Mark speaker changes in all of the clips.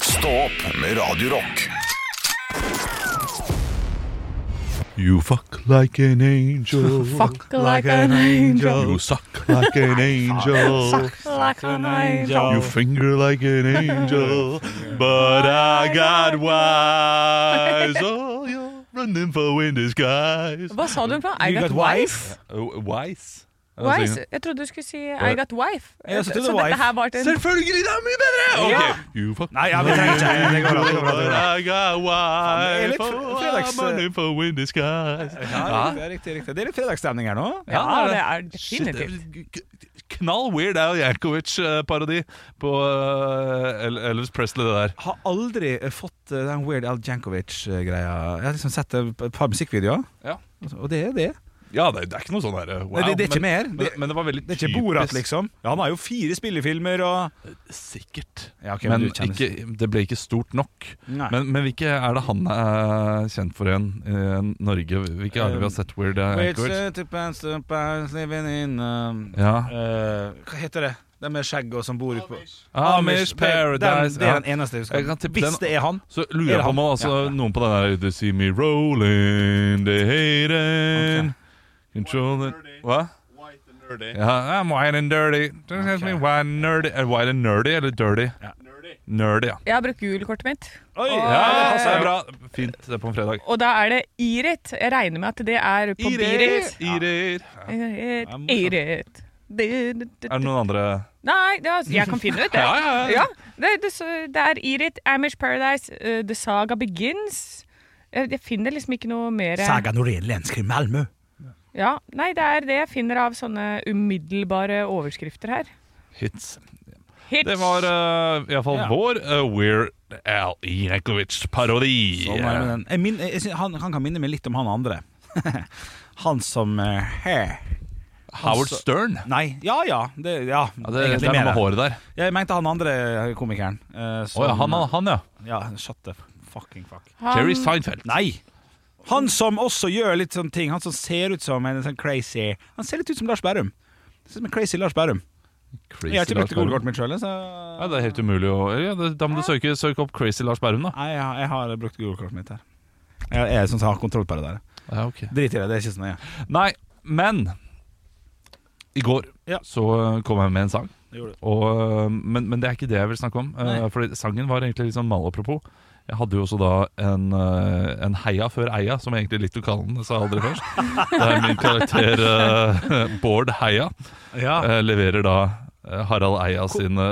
Speaker 1: Stå opp med Radio Rock.
Speaker 2: You fuck like an angel. fuck like an angel. You suck like an angel. You finger like an angel. but I got wise. Oh, you're running for wind disguise.
Speaker 3: Hva sa du på? I got wife?
Speaker 2: Uh, Wise? Er det
Speaker 3: Wise?
Speaker 2: sangen?
Speaker 3: Jeg trodde du skulle si I got wife.
Speaker 4: Ja,
Speaker 3: Så
Speaker 4: så trodde
Speaker 3: dette
Speaker 4: jeg wife.
Speaker 3: her var til
Speaker 2: Selvfølgelig, det er mye bedre! Ok.
Speaker 4: Ja.
Speaker 2: You fuck
Speaker 4: Nei, ja, vi trenger ikke Det går bra, det går bra,
Speaker 2: But
Speaker 4: det går bra.
Speaker 2: I got
Speaker 4: det er
Speaker 2: wise.
Speaker 4: litt
Speaker 2: Oh,
Speaker 4: fredags-
Speaker 2: I'm running for wind disguise.
Speaker 4: Ja, det er riktig, riktig. Det er litt fredagsstemning her nå.
Speaker 3: Ja,
Speaker 2: det-
Speaker 3: det er
Speaker 2: Shit, det
Speaker 3: definitivt.
Speaker 2: er k- k- Knall Weird Al Jankovic-parodi på eh, El- Elvis Presley, det der.
Speaker 4: Har aldri eh, fått eh, den Weird Al Jankovic-greia. Jeg har liksom sett eh, et par musikkvideoer,
Speaker 2: Ja.
Speaker 4: og det er det.
Speaker 2: Ja, det, det er ikke noe sånn her eh, wow.
Speaker 4: Nei, det, det er ikke
Speaker 2: men,
Speaker 4: mer. Det,
Speaker 2: men, men det var veldig
Speaker 4: det er ikke
Speaker 2: typisk.
Speaker 4: Borat, liksom. Ja, han har jo fire spillefilmer og
Speaker 2: Sikkert.
Speaker 4: Ja, ok,
Speaker 2: men
Speaker 4: men du kjenner-
Speaker 2: ikke, det ble ikke stort nok.
Speaker 4: Nei.
Speaker 2: Men, men hvilke er det han er eh, kjent for igjen i Norge? Hvilke er det vi har sett Weird eh, Al
Speaker 4: Which,
Speaker 2: Jankovic?
Speaker 4: uh, two pants, two pants, living in, um,
Speaker 2: Ja.
Speaker 4: eh, Hva heter det? De med skjegg og som bor ute på
Speaker 2: Amish
Speaker 4: Det-
Speaker 2: Paradise.
Speaker 4: Den, det er
Speaker 2: ja.
Speaker 4: den eneste jeg
Speaker 2: Jeg
Speaker 4: husker.
Speaker 2: kan tippe
Speaker 4: Hvis
Speaker 2: den-
Speaker 4: det er han.
Speaker 2: Så
Speaker 4: Er
Speaker 2: lurer
Speaker 4: det
Speaker 2: jeg på om
Speaker 4: han?
Speaker 2: altså,
Speaker 4: Ja, ja.
Speaker 2: noen på den der They see me rolling, they hating Control it Hva? Ja, I'm white and dirty. Don't ask me white and nerdy. Er det white and nerdy eller dirty? Nerdy, ja.
Speaker 3: Jeg har brukt gulkortet mitt,
Speaker 4: Oi,
Speaker 2: ja det
Speaker 4: det
Speaker 2: passer
Speaker 4: passer bra.
Speaker 2: bra. Fint, det er på en fredag.
Speaker 3: og da er det Irit. Jeg regner med at det er på Birit.
Speaker 2: Irer.
Speaker 3: Irit.
Speaker 4: morsomt.
Speaker 3: Irit. Du- du- du-
Speaker 2: Er det noen andre
Speaker 3: Nei, det er, jeg kan finne ut det.
Speaker 2: Ja, ja, ja.
Speaker 3: Ja, det, det, det er Irit, Amish Paradise, uh, The Saga Begins. Jeg, jeg finner liksom ikke noe mer
Speaker 4: Saga Norelensk i Malmö.
Speaker 3: Ja, nei, det er det jeg finner av sånne umiddelbare overskrifter her.
Speaker 2: hits?
Speaker 3: Hits.
Speaker 2: Det var uh, iallfall
Speaker 4: Ja.
Speaker 2: vår uh, Weird Al Jankovic-parodi.
Speaker 4: Sånn er det med den. Jeg min, jeg, synes- han, han kan minne meg litt om han andre. han som eh, her.
Speaker 2: Eh, Howard Stern.
Speaker 4: Nei, ja ja. Det, ja,
Speaker 2: Ja, det, det er noe
Speaker 4: mer.
Speaker 2: med håret der.
Speaker 4: Jeg mente han andre komikeren. eh,
Speaker 2: Å
Speaker 4: som-
Speaker 2: ja, han, han, ja.
Speaker 4: Ja, shut the fucking fuck.
Speaker 3: Han-
Speaker 2: Jerry Seinfeld.
Speaker 4: Nei! Han som også gjør litt sånne ting. Han som ser ut som en sånn crazy Han ser litt ut som Lars Berrum. Ser ut som en crazy Lars Berrum.
Speaker 2: Crazy
Speaker 4: Jeg har ikke
Speaker 2: Lars
Speaker 4: brukt
Speaker 2: Berrum.
Speaker 4: gullkortet mitt sjøl, så
Speaker 2: Ja, det er helt umulig å ja, det, Da må du søke, søke opp Crazy Lars Berrum, da.
Speaker 4: Nei, jeg har, jeg har brukt gullkortet mitt her. Jeg, jeg som har kontroll på det der.
Speaker 2: Ja, ok
Speaker 4: Drit i det, det er ikke så nøye.
Speaker 2: Nei, men I går
Speaker 4: Ja.
Speaker 2: så eh, kom jeg med en sang.
Speaker 4: Det gjorde du.
Speaker 2: Og, eh, men, men det er ikke det jeg vil snakke om. eh,
Speaker 4: Nei.
Speaker 2: Fordi sangen var egentlig litt sånn malapropos. Jeg hadde jo også da en, eh, en heia før eia, som jeg egentlig likte å kalle den. Sa jeg aldri først. Det er min karakter eh, Bård Heia.
Speaker 4: Ja.
Speaker 2: eh, leverer da eh, Harald Eia sine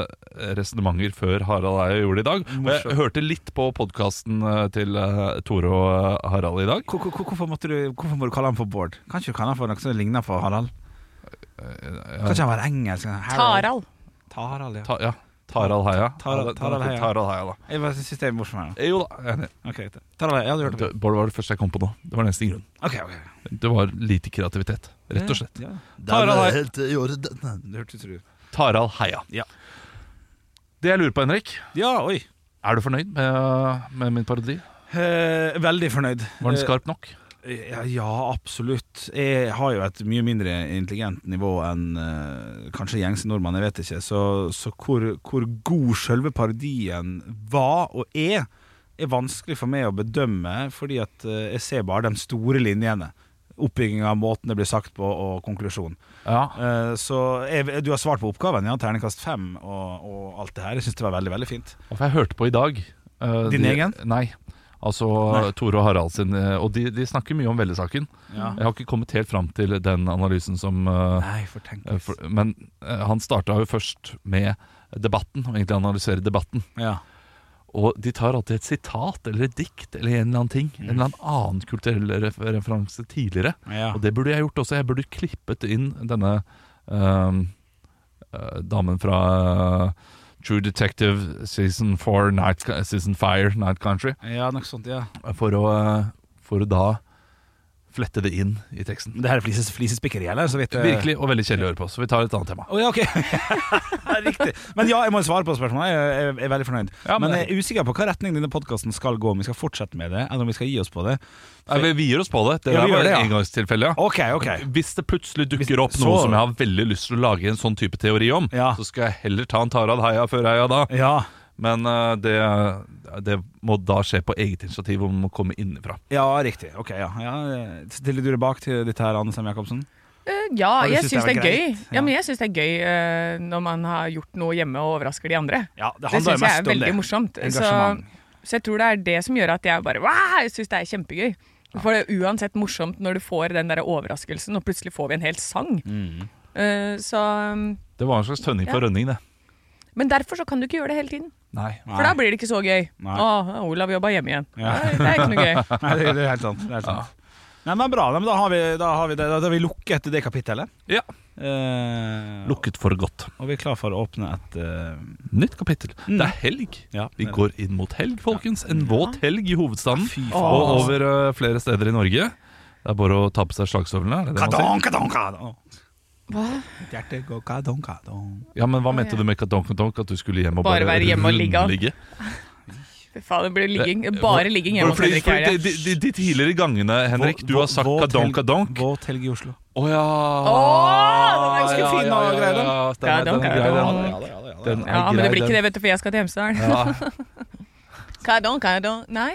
Speaker 2: resonnementer før Harald Eia gjorde det i dag. Og jeg hørte litt på podkasten til eh, Tore og eh, Harald i dag.
Speaker 4: Hvor- hvor- Hvorfor, måtte du, hvorfor må du kalle han for Bård? Kan ikke du kalle han for noe som ligner på Harald?
Speaker 2: Eh,
Speaker 4: Kan ikke han være engelsk? Harald.
Speaker 3: Tarald.
Speaker 4: Tarald, ja.
Speaker 2: Ta, ja, Tarald Heia.
Speaker 4: Tarald-
Speaker 2: Ja, det-
Speaker 4: Tarald Heia.
Speaker 2: Tarald Heia da.
Speaker 4: Jeg bare synes det er morsomt. her.
Speaker 2: Eh, Jo da, jeg er enig.
Speaker 4: Ok, greit. Tarald, ja, du hørte på.
Speaker 2: Det- Bård var det første jeg kom på nå. Det var den eneste grunnen.
Speaker 4: Ok, ok.
Speaker 2: Det var lite kreativitet, rett og slett.
Speaker 4: Ja.
Speaker 2: Tarald Heia.
Speaker 4: Det hørtes ut.
Speaker 2: Tarald Heia.
Speaker 4: Ja.
Speaker 2: Det jeg lurer på, Henrik,
Speaker 4: Ja, oi.
Speaker 2: er du fornøyd med, med min parodi?
Speaker 4: Eh, veldig fornøyd.
Speaker 2: Var den skarp nok?
Speaker 4: Eh, ja, ja, absolutt. Jeg har jo et mye mindre intelligent nivå enn eh, kanskje gjengse nordmann, jeg vet ikke. Så, så hvor, hvor god selve parodien var og er, er vanskelig for meg å bedømme, fordi at eh, jeg ser bare de store linjene. Oppbygginga av måten det blir sagt på, og konklusjonen.
Speaker 2: Ja.
Speaker 4: Eh, Så jeg, du har svart på oppgaven, ja. Terningkast fem og, og alt det her. Jeg syns det var veldig, veldig fint.
Speaker 2: Og for jeg hørte på i dag eh,
Speaker 4: Din
Speaker 2: de,
Speaker 4: egen?
Speaker 2: Nei. Altså Tore og Harald sin. eh, og de, de snakker mye om veldesaken.
Speaker 4: Ja.
Speaker 2: Jeg har ikke kommet helt fram til den analysen som eh,
Speaker 4: Nei, for tenk
Speaker 2: eh, for, Men eh, han starta jo først med debatten, og egentlig analyserer debatten.
Speaker 4: Ja.
Speaker 2: Og de tar alltid et sitat eller et dikt eller en eller annen ting. En eller annen kulturell ref- referanse tidligere.
Speaker 4: Ja.
Speaker 2: Og det burde jeg gjort også. Jeg burde klippet inn denne ehm, eh, damen fra eh, True Detective season 4, Night, season Fire, Night Country.
Speaker 4: Ja, noe sånt, ja.
Speaker 2: For å, eh, for å da flette det inn i teksten.
Speaker 4: Det her er flises, flisespikkeri, eller? Så vidt jeg-
Speaker 2: Virkelig, og veldig kjedelig å høre på, så vi tar et annet tema.
Speaker 4: Å ja, ok. Riktig. Men ja, jeg må svare på spørsmålet. Jeg er, jeg er veldig fornøyd.
Speaker 2: Ja, men-
Speaker 4: men, jeg er usikker på hva retning denne podkasten skal gå. Om vi skal fortsette med det, eller om vi skal gi oss på det.
Speaker 2: Nei, vi, vi gir oss på det. Det
Speaker 4: Ja,
Speaker 2: der
Speaker 4: vi gjør
Speaker 2: var et
Speaker 4: det, ja.
Speaker 2: engangstilfelle, ja.
Speaker 4: Ok, ok.
Speaker 2: Hvis det plutselig
Speaker 4: Hvis-
Speaker 2: dukker opp
Speaker 4: så-
Speaker 2: noe som jeg har veldig lyst til å lage en sånn type teori om,
Speaker 4: Ja.
Speaker 2: så skal jeg heller ta en Tarad Heia før Heia da.
Speaker 4: Ja,
Speaker 2: Men eh, det, det må da skje på eget initiativ, og man må komme innenfra.
Speaker 4: ja riktig. Ok, ja. ja. eh, Stiller du deg bak til ditt her, Anne Sem Jacobsen?
Speaker 3: Eh, ja,
Speaker 4: du
Speaker 3: jeg
Speaker 4: syntes
Speaker 3: syns det
Speaker 4: det
Speaker 3: er
Speaker 4: var
Speaker 3: gøy.
Speaker 4: greit?
Speaker 3: Ja,
Speaker 4: Ja.
Speaker 3: men jeg syns det er gøy eh, når man har gjort noe hjemme og overrasker de andre.
Speaker 4: Ja, det
Speaker 3: Det
Speaker 4: handler jo
Speaker 3: syns jeg
Speaker 4: mest
Speaker 3: er
Speaker 4: om
Speaker 3: veldig
Speaker 4: det.
Speaker 3: morsomt. Så,
Speaker 4: Engasjement.
Speaker 3: så jeg tror det er det som gjør at jeg bare wow, Jeg syns det er kjempegøy. For det er uansett morsomt når du får den der overraskelsen, og plutselig får vi en hel sang.
Speaker 4: Mm.
Speaker 3: Eh, så um,
Speaker 2: Det var en slags tønning for rønning, det.
Speaker 3: Men derfor så kan du ikke gjøre det hele tiden.
Speaker 2: Nei.
Speaker 3: For da blir det ikke så gøy.
Speaker 4: Nei.
Speaker 3: Å, Olav jobba hjemme igjen.
Speaker 4: Ja.
Speaker 3: Nei, det er ikke noe gøy.
Speaker 4: Nei, det, det er helt sant. Det er helt sant. Nei, men bra. Nei, men da har vi, da har vi, det, da har vi lukket det kapittelet.
Speaker 2: Ja.
Speaker 4: Eh,
Speaker 2: Lukket for godt.
Speaker 4: Og vi er klar for å åpne et eh,
Speaker 2: Nytt kapittel. Det er helg.
Speaker 4: ja,
Speaker 2: Vi går inn mot helg, folkens. En våt helg i hovedstaden.
Speaker 4: Fy faen. altså.
Speaker 2: Og over eh, flere steder i Norge. Det er bare å ta på seg slagstøvlene. Er det det man sier?
Speaker 4: Kadong, kadong, kadong.
Speaker 3: Hva?
Speaker 4: Mitt hjerte går kadong, kadong.
Speaker 2: Ja, men Hva mente du med kadonk-kadonk? At du skulle hjem og
Speaker 3: Bare
Speaker 2: bare,
Speaker 3: være hjemme og ligge an.
Speaker 2: rundligge?
Speaker 3: Fy faen, det blir ligging. Bare ligging hjemme hos
Speaker 2: Fordi-
Speaker 3: Henrik
Speaker 2: fordi
Speaker 3: Helge.
Speaker 2: de, de, de tidligere gangene, Henrik,
Speaker 4: Vå-
Speaker 2: du har sagt
Speaker 4: våt helg-
Speaker 2: kadonk-kadonk. Å
Speaker 4: Våt helg i Oslo.
Speaker 2: ja!
Speaker 3: Åh, den er ganske
Speaker 2: Ja,
Speaker 4: fin
Speaker 2: ja,
Speaker 4: og
Speaker 2: ja,
Speaker 4: grei, den.
Speaker 2: ja, den er- den er grei, den.
Speaker 3: Kadonk-kadonk.
Speaker 2: Den er
Speaker 3: Ja, men det
Speaker 2: grei,
Speaker 3: blir ikke
Speaker 2: den.
Speaker 3: det, vet du, for jeg skal til Hemsedal.
Speaker 2: Ja.
Speaker 3: Kadon, kadon. Nei.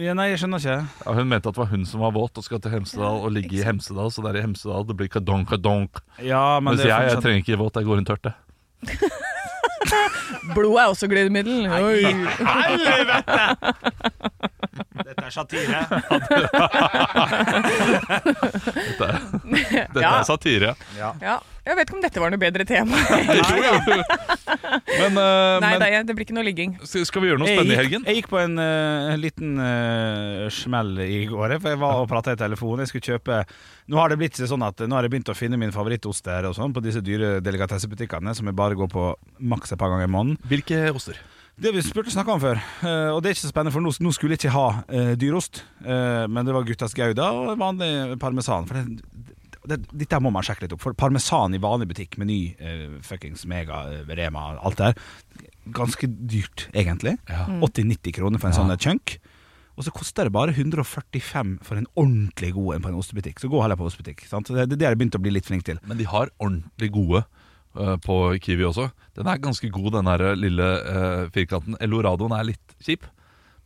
Speaker 4: Ja, nei, jeg skjønner ikke.
Speaker 2: Ja, hun mente at det var hun som var våt og skal til Hemsedal og ligge i Hemsedal, så det er i Hemsedal det blir kadonk-kadonk.
Speaker 4: Ja, men
Speaker 2: Mens
Speaker 4: det er
Speaker 2: jeg, jeg
Speaker 4: fortsatt-
Speaker 2: trenger ikke våt, jeg går en tørte.
Speaker 3: Blod er også glidemiddel. Oi.
Speaker 4: Dette er satire.
Speaker 2: Dette
Speaker 3: Ja.
Speaker 2: er satire.
Speaker 3: Ja, jeg vet ikke om dette var noe bedre tema.
Speaker 2: Men, eh,
Speaker 3: Nei,
Speaker 2: men
Speaker 3: det, er- det blir ikke noe ligging.
Speaker 2: skal skal vi gjøre noe
Speaker 4: Jeg
Speaker 2: spennende i
Speaker 4: gikk,
Speaker 2: helgen?
Speaker 4: jeg gikk på en eh, liten eh, smell i går, jeg, for jeg var og prata i telefonen. Jeg skulle kjøpe Nå har det blitt sånn at eh, Nå har jeg begynt å finne min favorittost der og sånn, på disse dyre delikatessebutikkene som jeg bare går på maks et par ganger i måneden.
Speaker 2: Hvilke oster?
Speaker 4: Det vi spurte snakka om før, eh, og det er ikke så spennende, for nå, nå skulle jeg ikke ha eh, dyrost. Eh, men det var Guttas Gouda og vanlig parmesan. For det, det, dette her må man sjekke litt opp. For parmesan i vanlig butikk, Meny, uh, fuckings Mega, eh, Rema, alt det der. Ganske dyrt, egentlig. 80-90 kroner for en sånn chunk. Og så koster det bare 145 for en ordentlig god en på en ostebutikk. Så gå heller på ostebutikk. Sant? Det, det har jeg begynt å bli litt flink til.
Speaker 2: Men de har ordentlig gode eh, på Kiwi også. Den er ganske god, den der lille eh, firkanten. Eldoradoen er litt kjip,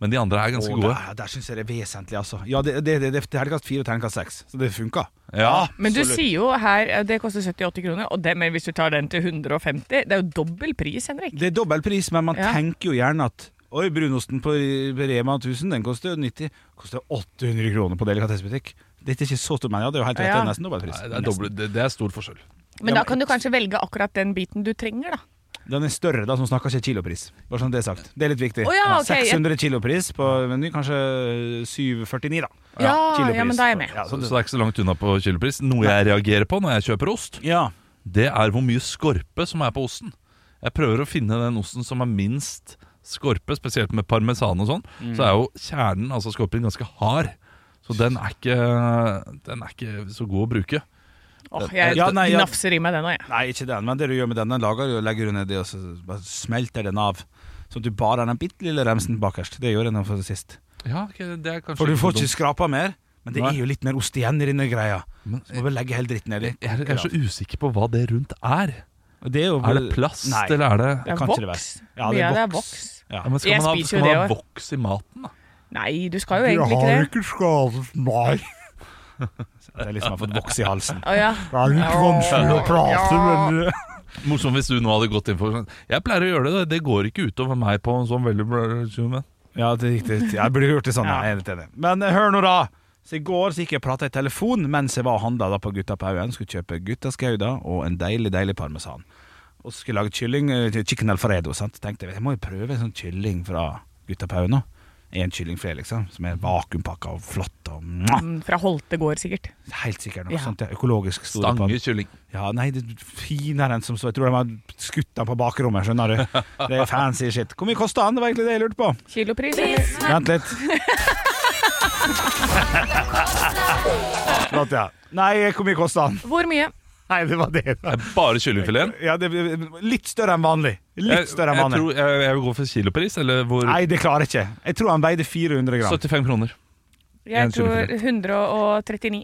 Speaker 2: men de andre er ganske
Speaker 4: Og
Speaker 2: gode.
Speaker 4: Der, der syns jeg det er vesentlig, altså. Ja, det, det, det, det er terningkast fire og terningkast seks, så det funka.
Speaker 2: Ja.
Speaker 3: Men du sier jo her eh, det koster 70-80 kroner, og det, men hvis du tar den til 150 Det er jo dobbel pris, Henrik.
Speaker 4: Det er dobbel pris, men man
Speaker 3: Ja.
Speaker 4: tenker jo gjerne at Oi, brunosten på Rema 1000, den koster jo 90 Koster 800 kroner på delikatessebutikk. Dette er ikke så stort, men ja, det er jo helt rett, det
Speaker 3: Ja.
Speaker 4: er nesten dobbel pris.
Speaker 2: Nei, det, er doble, det, det er stor forskjell.
Speaker 3: Men da kan du kanskje velge akkurat den biten du trenger, da.
Speaker 4: Den er større, da, som snakker ikke kilopris. Bare sånn det er sagt. Det er litt viktig.
Speaker 3: Å ja, ok, ja.
Speaker 4: 600 kilopris på Meny, kanskje 749, da.
Speaker 3: Ja,
Speaker 4: kilopris.
Speaker 3: ja, men da er jeg med.
Speaker 4: Ja, sånn,
Speaker 2: Så
Speaker 4: så
Speaker 2: det
Speaker 4: det,
Speaker 2: er ikke så langt unna på kilopris. Noe jeg reagerer på når jeg kjøper ost,
Speaker 4: ja.
Speaker 2: det er hvor mye skorpe som er på osten. Jeg prøver å finne den osten som er minst skorpe, spesielt med parmesan og sånn. Så er jo kjernen, altså skorpen, ganske hard. Så den er ikke, den er ikke så god å bruke.
Speaker 3: Åh, jeg
Speaker 4: Ja, nei, ja.
Speaker 3: nafser i meg den òg, jeg.
Speaker 4: Nei, ikke den, men det du gjør med den, den lager du og legger du nedi, og så bare smelter den av. Sånn at du bare har den bitte lille remsen bakerst. Det gjorde jeg nå for sist.
Speaker 2: Ja, ok, det er kanskje
Speaker 4: For du
Speaker 2: ikke så
Speaker 4: får
Speaker 2: dumt.
Speaker 4: ikke skrapa mer, men det
Speaker 2: Nei.
Speaker 4: er jo litt mer ost igjen i denne greia.
Speaker 2: Men-
Speaker 4: Så må vi legge hele dritten nedi.
Speaker 2: Jeg er, jeg er så usikker på hva det rundt er.
Speaker 4: Og det er, jo,
Speaker 2: Er det plast,
Speaker 4: Nei.
Speaker 2: eller er det
Speaker 3: Det er
Speaker 4: kan ikke det
Speaker 3: voks.
Speaker 4: være. Ja, det
Speaker 3: Mye
Speaker 4: er
Speaker 3: av det er
Speaker 4: voks.
Speaker 3: voks.
Speaker 4: Ja.
Speaker 2: ja, men Skal
Speaker 3: Jeg
Speaker 2: man ha,
Speaker 3: spiser jo
Speaker 2: skal man ha
Speaker 3: det
Speaker 2: voks i maten, da?
Speaker 3: Nei, du skal jo egentlig ikke det.
Speaker 5: ikke skadet meg.
Speaker 4: Det er liksom jeg har fått voks i halsen.
Speaker 3: Å ja.
Speaker 5: Det er litt vanskelig å prate, men
Speaker 2: Morsomt hvis du nå hadde gått inn for sånn. Jeg pleier å gjøre det, da. det går ikke utover meg på en sånn veldig bra-
Speaker 4: Ja, det er riktig. Jeg burde gjort det sånn. Jeg er helt enig. Men eh, hør nå, da. Så I går så gikk jeg og prata i telefon mens jeg var og handla på Gutta på haugen. Skulle kjøpe Guttas Gouda og en deilig, deilig parmesan. Og så skulle jeg lage kylling, eh, chicken alfredo. sant? Tenkte jeg jeg må jo prøve en sånn kylling fra Gutta på haugen nå. én kylling flere, liksom. Som er vakuumpakka og flott og mwah!
Speaker 3: Mm, Fra Holte gård, sikkert.
Speaker 4: Helt sikkert noe
Speaker 3: Ja.
Speaker 4: sånt. Ja. Økologisk store
Speaker 2: Stange
Speaker 4: pan-
Speaker 2: kylling.
Speaker 4: Ja, nei, det er finere enn som så. Jeg tror de har skutt den på bakrommet, skjønner du. Det er fancy shit. Hvor mye kosta den? Det var egentlig det jeg lurte på.
Speaker 3: Kilopris, eller?
Speaker 4: Vent litt. Flott, ja. Nei, hvor mye kosta den?
Speaker 3: Hvor mye?
Speaker 4: Nei, det var det.
Speaker 2: Det er Bare kyllingfileten.
Speaker 4: Ja, det litt større enn vanlig. Litt større enn
Speaker 2: jeg, jeg,
Speaker 4: vanlig.
Speaker 2: tror, jeg, jeg vil gå for kilopris, eller hvor
Speaker 4: Nei, det klarer jeg ikke. Jeg tror han veide 400 gram.
Speaker 2: 75 kroner. En
Speaker 3: Jeg tror
Speaker 2: kilopris.
Speaker 3: 139.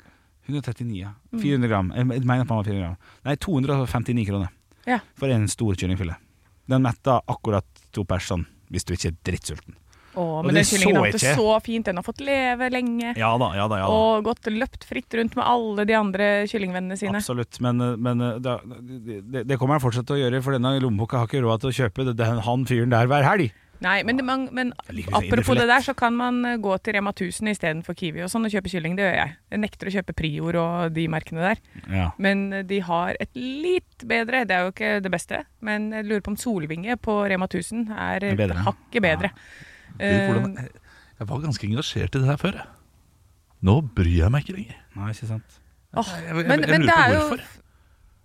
Speaker 4: 139, ja. 400 gram. Jeg jeg mener at han var 400 gram. Nei, 259 kroner.
Speaker 3: Ja.
Speaker 4: For en stor kyllingfilet. Den metta akkurat to personer, hvis du ikke er drittsulten.
Speaker 3: Å,
Speaker 4: det
Speaker 3: men den
Speaker 4: så
Speaker 3: kyllingen har hatt
Speaker 4: jeg
Speaker 3: det så fint. Den har fått leve lenge.
Speaker 4: Ja da, ja da, ja da.
Speaker 3: Og gått løpt fritt rundt med alle de andre kyllingvennene sine.
Speaker 4: Absolutt, men, men eh, da, det, det kommer han fortsatt til å gjøre, for denne lommeboka har ikke råd til å kjøpe det- den, han fyren der hver helg.
Speaker 3: Nei, men, det, man, men
Speaker 4: Jeg liker å si
Speaker 3: apropos
Speaker 4: indrefilett.
Speaker 3: det der, så kan man eh, gå til Rema 1000 istedenfor Kiwi og sånn og kjøpe kylling. Det gjør jeg. Jeg nekter å kjøpe Prior og de merkene der.
Speaker 4: Ja.
Speaker 3: Men eh, de har et litt bedre, det er jo ikke det beste, men jeg lurer på om Solvinge på Rema 1000 er
Speaker 4: Er bedre,
Speaker 3: et
Speaker 4: ja.
Speaker 3: hakket bedre.
Speaker 2: Gud,
Speaker 3: Eh,
Speaker 2: hvordan- jeg- Jeg var ganske engasjert i det her før. jeg. Nå bryr jeg meg ikke lenger.
Speaker 4: Nei, ikke sant?
Speaker 3: åh,
Speaker 2: Jeg, jeg,
Speaker 3: men,
Speaker 2: jeg
Speaker 3: men
Speaker 2: lurer
Speaker 3: det
Speaker 2: på
Speaker 3: er jo
Speaker 2: hvorfor.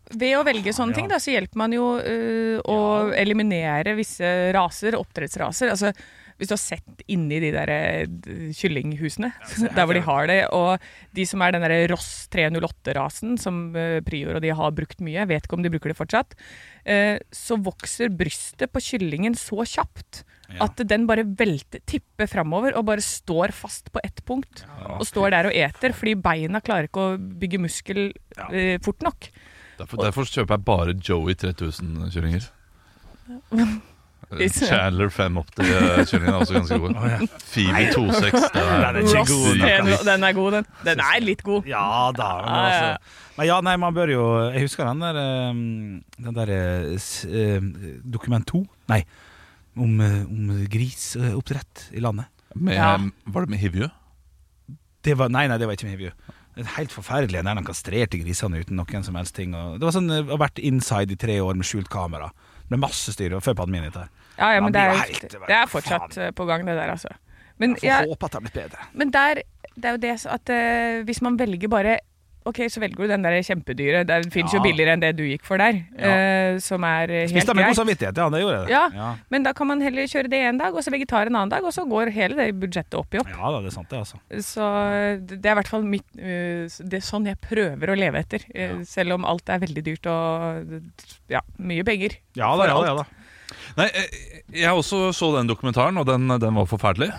Speaker 3: Ved å velge sånne ting, da, så hjelper man jo eh, å eliminere visse raser, oppdrettsraser. Altså, hvis du har sett inni de der eh, d- kyllinghusene, der hvor de har det, og de som er den der Ross 308-rasen, som eh, Prior og de har brukt mye, jeg vet ikke om de bruker det fortsatt, eh, så vokser brystet på kyllingen så kjapt at den bare velter, tipper framover og bare står fast på ett punkt. Og står der og eter, fordi beina klarer ikke å bygge muskel eh, fort nok.
Speaker 2: Derfor, derfor kjøper jeg bare Joey 3000-kyllinger.
Speaker 3: Is-
Speaker 2: Chandler 5 opp til kyllingen er også ganske god. Phoebe 26. det er-
Speaker 4: Den er ikke
Speaker 3: Ross
Speaker 4: god.
Speaker 3: Ten, den er god, den. Den er litt god.
Speaker 4: Ja da. Men,
Speaker 3: Ja, ja, ja.
Speaker 4: altså, men ja, nei, man bør jo Jeg husker den der eh, Den der eh, s- eh, Dokument 2, nei, om, eh, om grisoppdrett i landet.
Speaker 2: Med,
Speaker 3: Ja.
Speaker 2: Var det med Hivju?
Speaker 4: Det var, nei, nei, det var ikke med Hivju. En helt forferdelig en der han kastrerte grisene uten noen som helst ting. Og det var sånn, eh, Har vært inside i tre år med skjult kamera. Det ble masse styr det var før pandemien. Dette. her.
Speaker 3: Ja, ja, men
Speaker 4: Man
Speaker 3: det
Speaker 4: blir
Speaker 3: er,
Speaker 4: jo
Speaker 3: jo-
Speaker 4: helt-
Speaker 3: det er fortsatt eh, på gang, det der, altså. Men,
Speaker 4: Får
Speaker 3: jeg,
Speaker 4: håpe at det har blitt bedre.
Speaker 3: men der, det er jo det så at eh, hvis man velger bare Ok, så velger du den der kjempedyre. Den fins jo
Speaker 4: Ja.
Speaker 3: billigere enn det du gikk for der, eh, som er eh, helt
Speaker 4: Spiste han med god
Speaker 3: greit.
Speaker 4: samvittighet, ja. Det gjorde jeg. det.
Speaker 3: Ja,
Speaker 4: ja.
Speaker 3: men da kan man heller kjøre det en dag, og så vegetar en annen dag, og så går hele det budsjettet opp i opp.
Speaker 4: Ja da, det er sant, det, altså.
Speaker 3: Så det det er i hvert fall mitt øh, Det er sånn jeg prøver å leve etter. øh, Selv om alt er veldig dyrt og ja, mye penger.
Speaker 4: Ja da, ja da. Ja, da.
Speaker 2: Nei, jeg, jeg også så den dokumentaren, og den, den var forferdelig.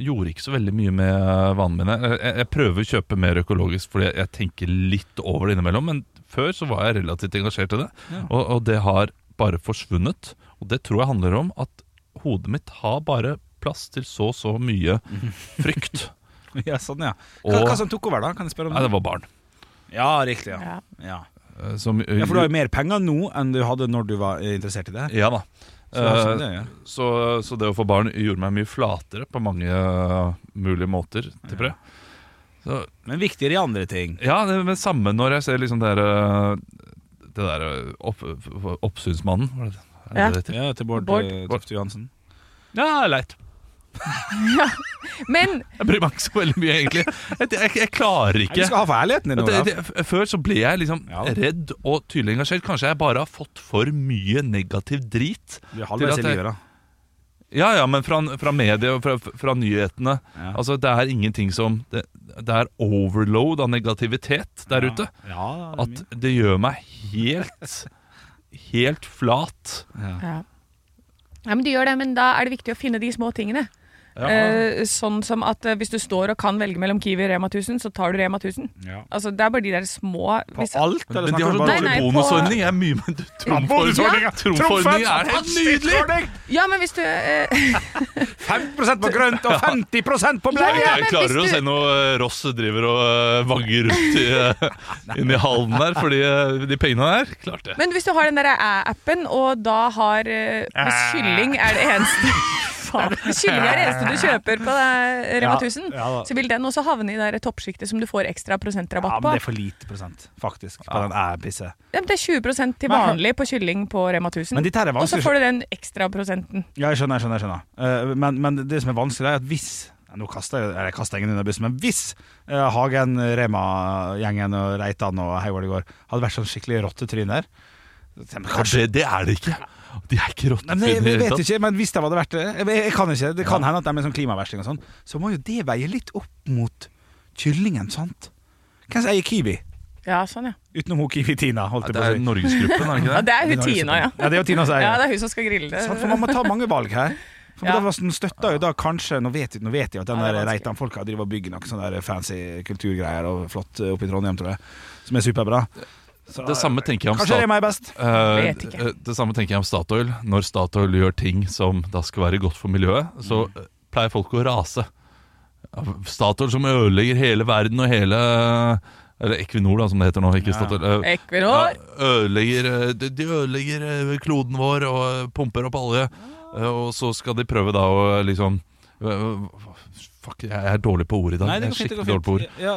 Speaker 2: Gjorde ikke så veldig mye med vanene mine. Jeg- Jeg, jeg prøver å kjøpe mer økologisk, fordi jeg, jeg tenker litt over det innimellom. Men før så var jeg relativt engasjert i det, og, og det har bare forsvunnet. Og det tror jeg handler om at hodet mitt har bare plass til så så mye frykt.
Speaker 4: ja sånn, ja. Hva,
Speaker 2: Og-
Speaker 4: hva som tok over, da? Kan jeg spørre om
Speaker 2: Nei, det var barn.
Speaker 4: Ja, riktig. Ja.
Speaker 3: Ja.
Speaker 4: Ja.
Speaker 2: eh, Som,
Speaker 4: ja, For du har jo mer penger nå enn du hadde når du var eh, interessert i det. her.
Speaker 2: Ja da.
Speaker 4: Så, det er sånn
Speaker 2: Eh,
Speaker 4: det, er, ja.
Speaker 2: Så, så det å få barn gjorde meg mye flatere på mange uh, mulige måter, tipper jeg. Så,
Speaker 4: Men viktigere i andre ting.
Speaker 2: ja, det, men samme når jeg ser liksom det der, uh, det der uh, opp, Oppsynsmannen, var det det? Er
Speaker 3: Ja.
Speaker 2: det det heter?
Speaker 4: Ja, til Bård,
Speaker 3: Bård.
Speaker 4: eh, Tufte Johansen.
Speaker 2: Ja, leit.
Speaker 3: Men
Speaker 2: Jeg bryr meg ikke så veldig mye, egentlig. Jeg, jeg, jeg klarer
Speaker 4: Nei, Du
Speaker 2: ikke.
Speaker 4: skal ha for ærligheten din,
Speaker 2: At det,
Speaker 4: Olav.
Speaker 2: det, f- før så ble jeg liksom
Speaker 4: Ja.
Speaker 2: redd og tydelig engasjert. Kanskje jeg bare har fått for mye negativ drit.
Speaker 4: Du er halvveis
Speaker 2: til
Speaker 4: i
Speaker 2: at jeg-
Speaker 4: livet, da.
Speaker 2: Ja, ja, men fra, fra media og fra, fra nyhetene.
Speaker 4: Ja.
Speaker 2: Altså, Det er ingenting som Det, det er overload av negativitet der ute.
Speaker 4: Ja, da,
Speaker 2: At det gjør meg helt Helt flat.
Speaker 3: ja. men du gjør det, men da er det viktig å finne de små tingene. Eh, sånn som at eh, hvis du står og kan velge mellom Kiwi og Rema 1000, så tar du Rema 1000.
Speaker 4: Ja.
Speaker 3: Altså, det er bare de der små
Speaker 4: På
Speaker 3: hvis-
Speaker 4: alt? Eller
Speaker 2: Men de
Speaker 4: snakker
Speaker 2: har så
Speaker 4: du
Speaker 3: Nei,
Speaker 4: bare-
Speaker 2: dårlig
Speaker 3: nei, på-
Speaker 2: bonusordning. Jeg er mye med trumfordning.
Speaker 4: bonusordningen!
Speaker 2: Trumfordning
Speaker 4: Trumfen,
Speaker 2: er helt nydelig!
Speaker 3: Ja, men hvis du eh,
Speaker 4: 50 på grønt og 50 på
Speaker 3: Ja, ja,
Speaker 4: bleie!
Speaker 3: men
Speaker 2: Jeg klarer
Speaker 3: hvis
Speaker 2: å
Speaker 3: du-
Speaker 2: se noe eh, Ross driver og eh, vagger rundt i, eh, inni hallen der, fordi eh, de pengene der Klart det.
Speaker 3: Men hvis du har den der æ-appen, og da har eh, Hvis kylling er det eneste faen. Kylling er det eneste du kjøper på det, eh, Rema
Speaker 4: Ja,
Speaker 3: 1000.
Speaker 4: ja da.
Speaker 3: så vil den også havne i det toppsjiktet som du får ekstra prosentrabatt
Speaker 4: Ja,
Speaker 3: på.
Speaker 4: men det er for lite prosent, faktisk. På den æ-pisset.
Speaker 3: Ja, men det er 20 til
Speaker 4: Men-
Speaker 3: vanlig på kylling på Rema 1000.
Speaker 4: Men dette her er
Speaker 3: Og så
Speaker 4: vanskelig.
Speaker 3: får du den ekstra prosenten.
Speaker 4: Ja, jeg skjønner, jeg skjønner, jeg skjønner. Eh, men, men det som er vanskelig, er at hvis ja, Nå kaster jeg, eller jeg kaster ingen under bussen, men hvis eh, Hagen, Rema-gjengen og Reitan og hei hvor det går, hadde vært sånn skikkelig rottetryner så tenker jeg,
Speaker 2: Ja,
Speaker 4: Kanskje
Speaker 2: det, det er det ikke. De er ikke
Speaker 4: Nei, men
Speaker 2: rottetryner i
Speaker 4: jeg, jeg
Speaker 2: det
Speaker 4: vet
Speaker 2: hele tatt.
Speaker 4: ikke, men hvis de hadde vært det Jeg, jeg kan ikke, Det kan hende at de er sånn klimaversting og sånn. Så må jo det veie litt opp mot kyllingen, sant? Hvem som eier Kiwi?
Speaker 3: Ja, sånn, ja.
Speaker 4: Utenom hun Kiwi-Tina, holdt
Speaker 2: Nei, Det
Speaker 4: jeg på å
Speaker 2: er
Speaker 4: si.
Speaker 2: Norgesgruppen, er det ikke
Speaker 3: ja
Speaker 2: det?
Speaker 3: det er hun
Speaker 4: har jeg
Speaker 3: Tina, ja.
Speaker 4: sett. Ja, det er jo Tina som eier
Speaker 3: Ja, det er hun som skal grille det.
Speaker 4: Sant, for man må ta mange valg her. For
Speaker 3: Ja.
Speaker 4: da var sånn, støtta jo da kanskje Nå vet, nå vet jeg at den
Speaker 3: Ja, det er
Speaker 4: der
Speaker 3: vanskelig.
Speaker 4: Reitan-folka driver og bygger noen sånne der fancy kulturgreier og flott eh, oppe i Trondheim, tror jeg, som er superbra. Så,
Speaker 2: Det samme tenker jeg om
Speaker 4: Kanskje
Speaker 2: stat...
Speaker 4: Rema er best.
Speaker 2: Eh,
Speaker 3: Vet ikke.
Speaker 2: eh, det samme tenker jeg om Statoil. Når Statoil gjør ting som da skal være godt for miljøet, så
Speaker 4: Mm.
Speaker 2: eh, pleier folk å rase. Ja, Statoil som ødelegger hele verden og hele Eller Equinor, da, som det heter nå. Ikke
Speaker 4: Ja.
Speaker 2: Statoil. eh,
Speaker 3: Equinor.
Speaker 2: ja, ødelegger, eh, de, de ødelegger eh, kloden vår og eh, pumper opp olje.
Speaker 4: Ah.
Speaker 2: eh, Og så skal de prøve da å eh, liksom eh, Fuck, jeg er dårlig på ord i dag.
Speaker 4: Nei, det
Speaker 2: jeg er skikkelig
Speaker 4: går fint. det går
Speaker 2: dårlig på ord.
Speaker 4: fint ja,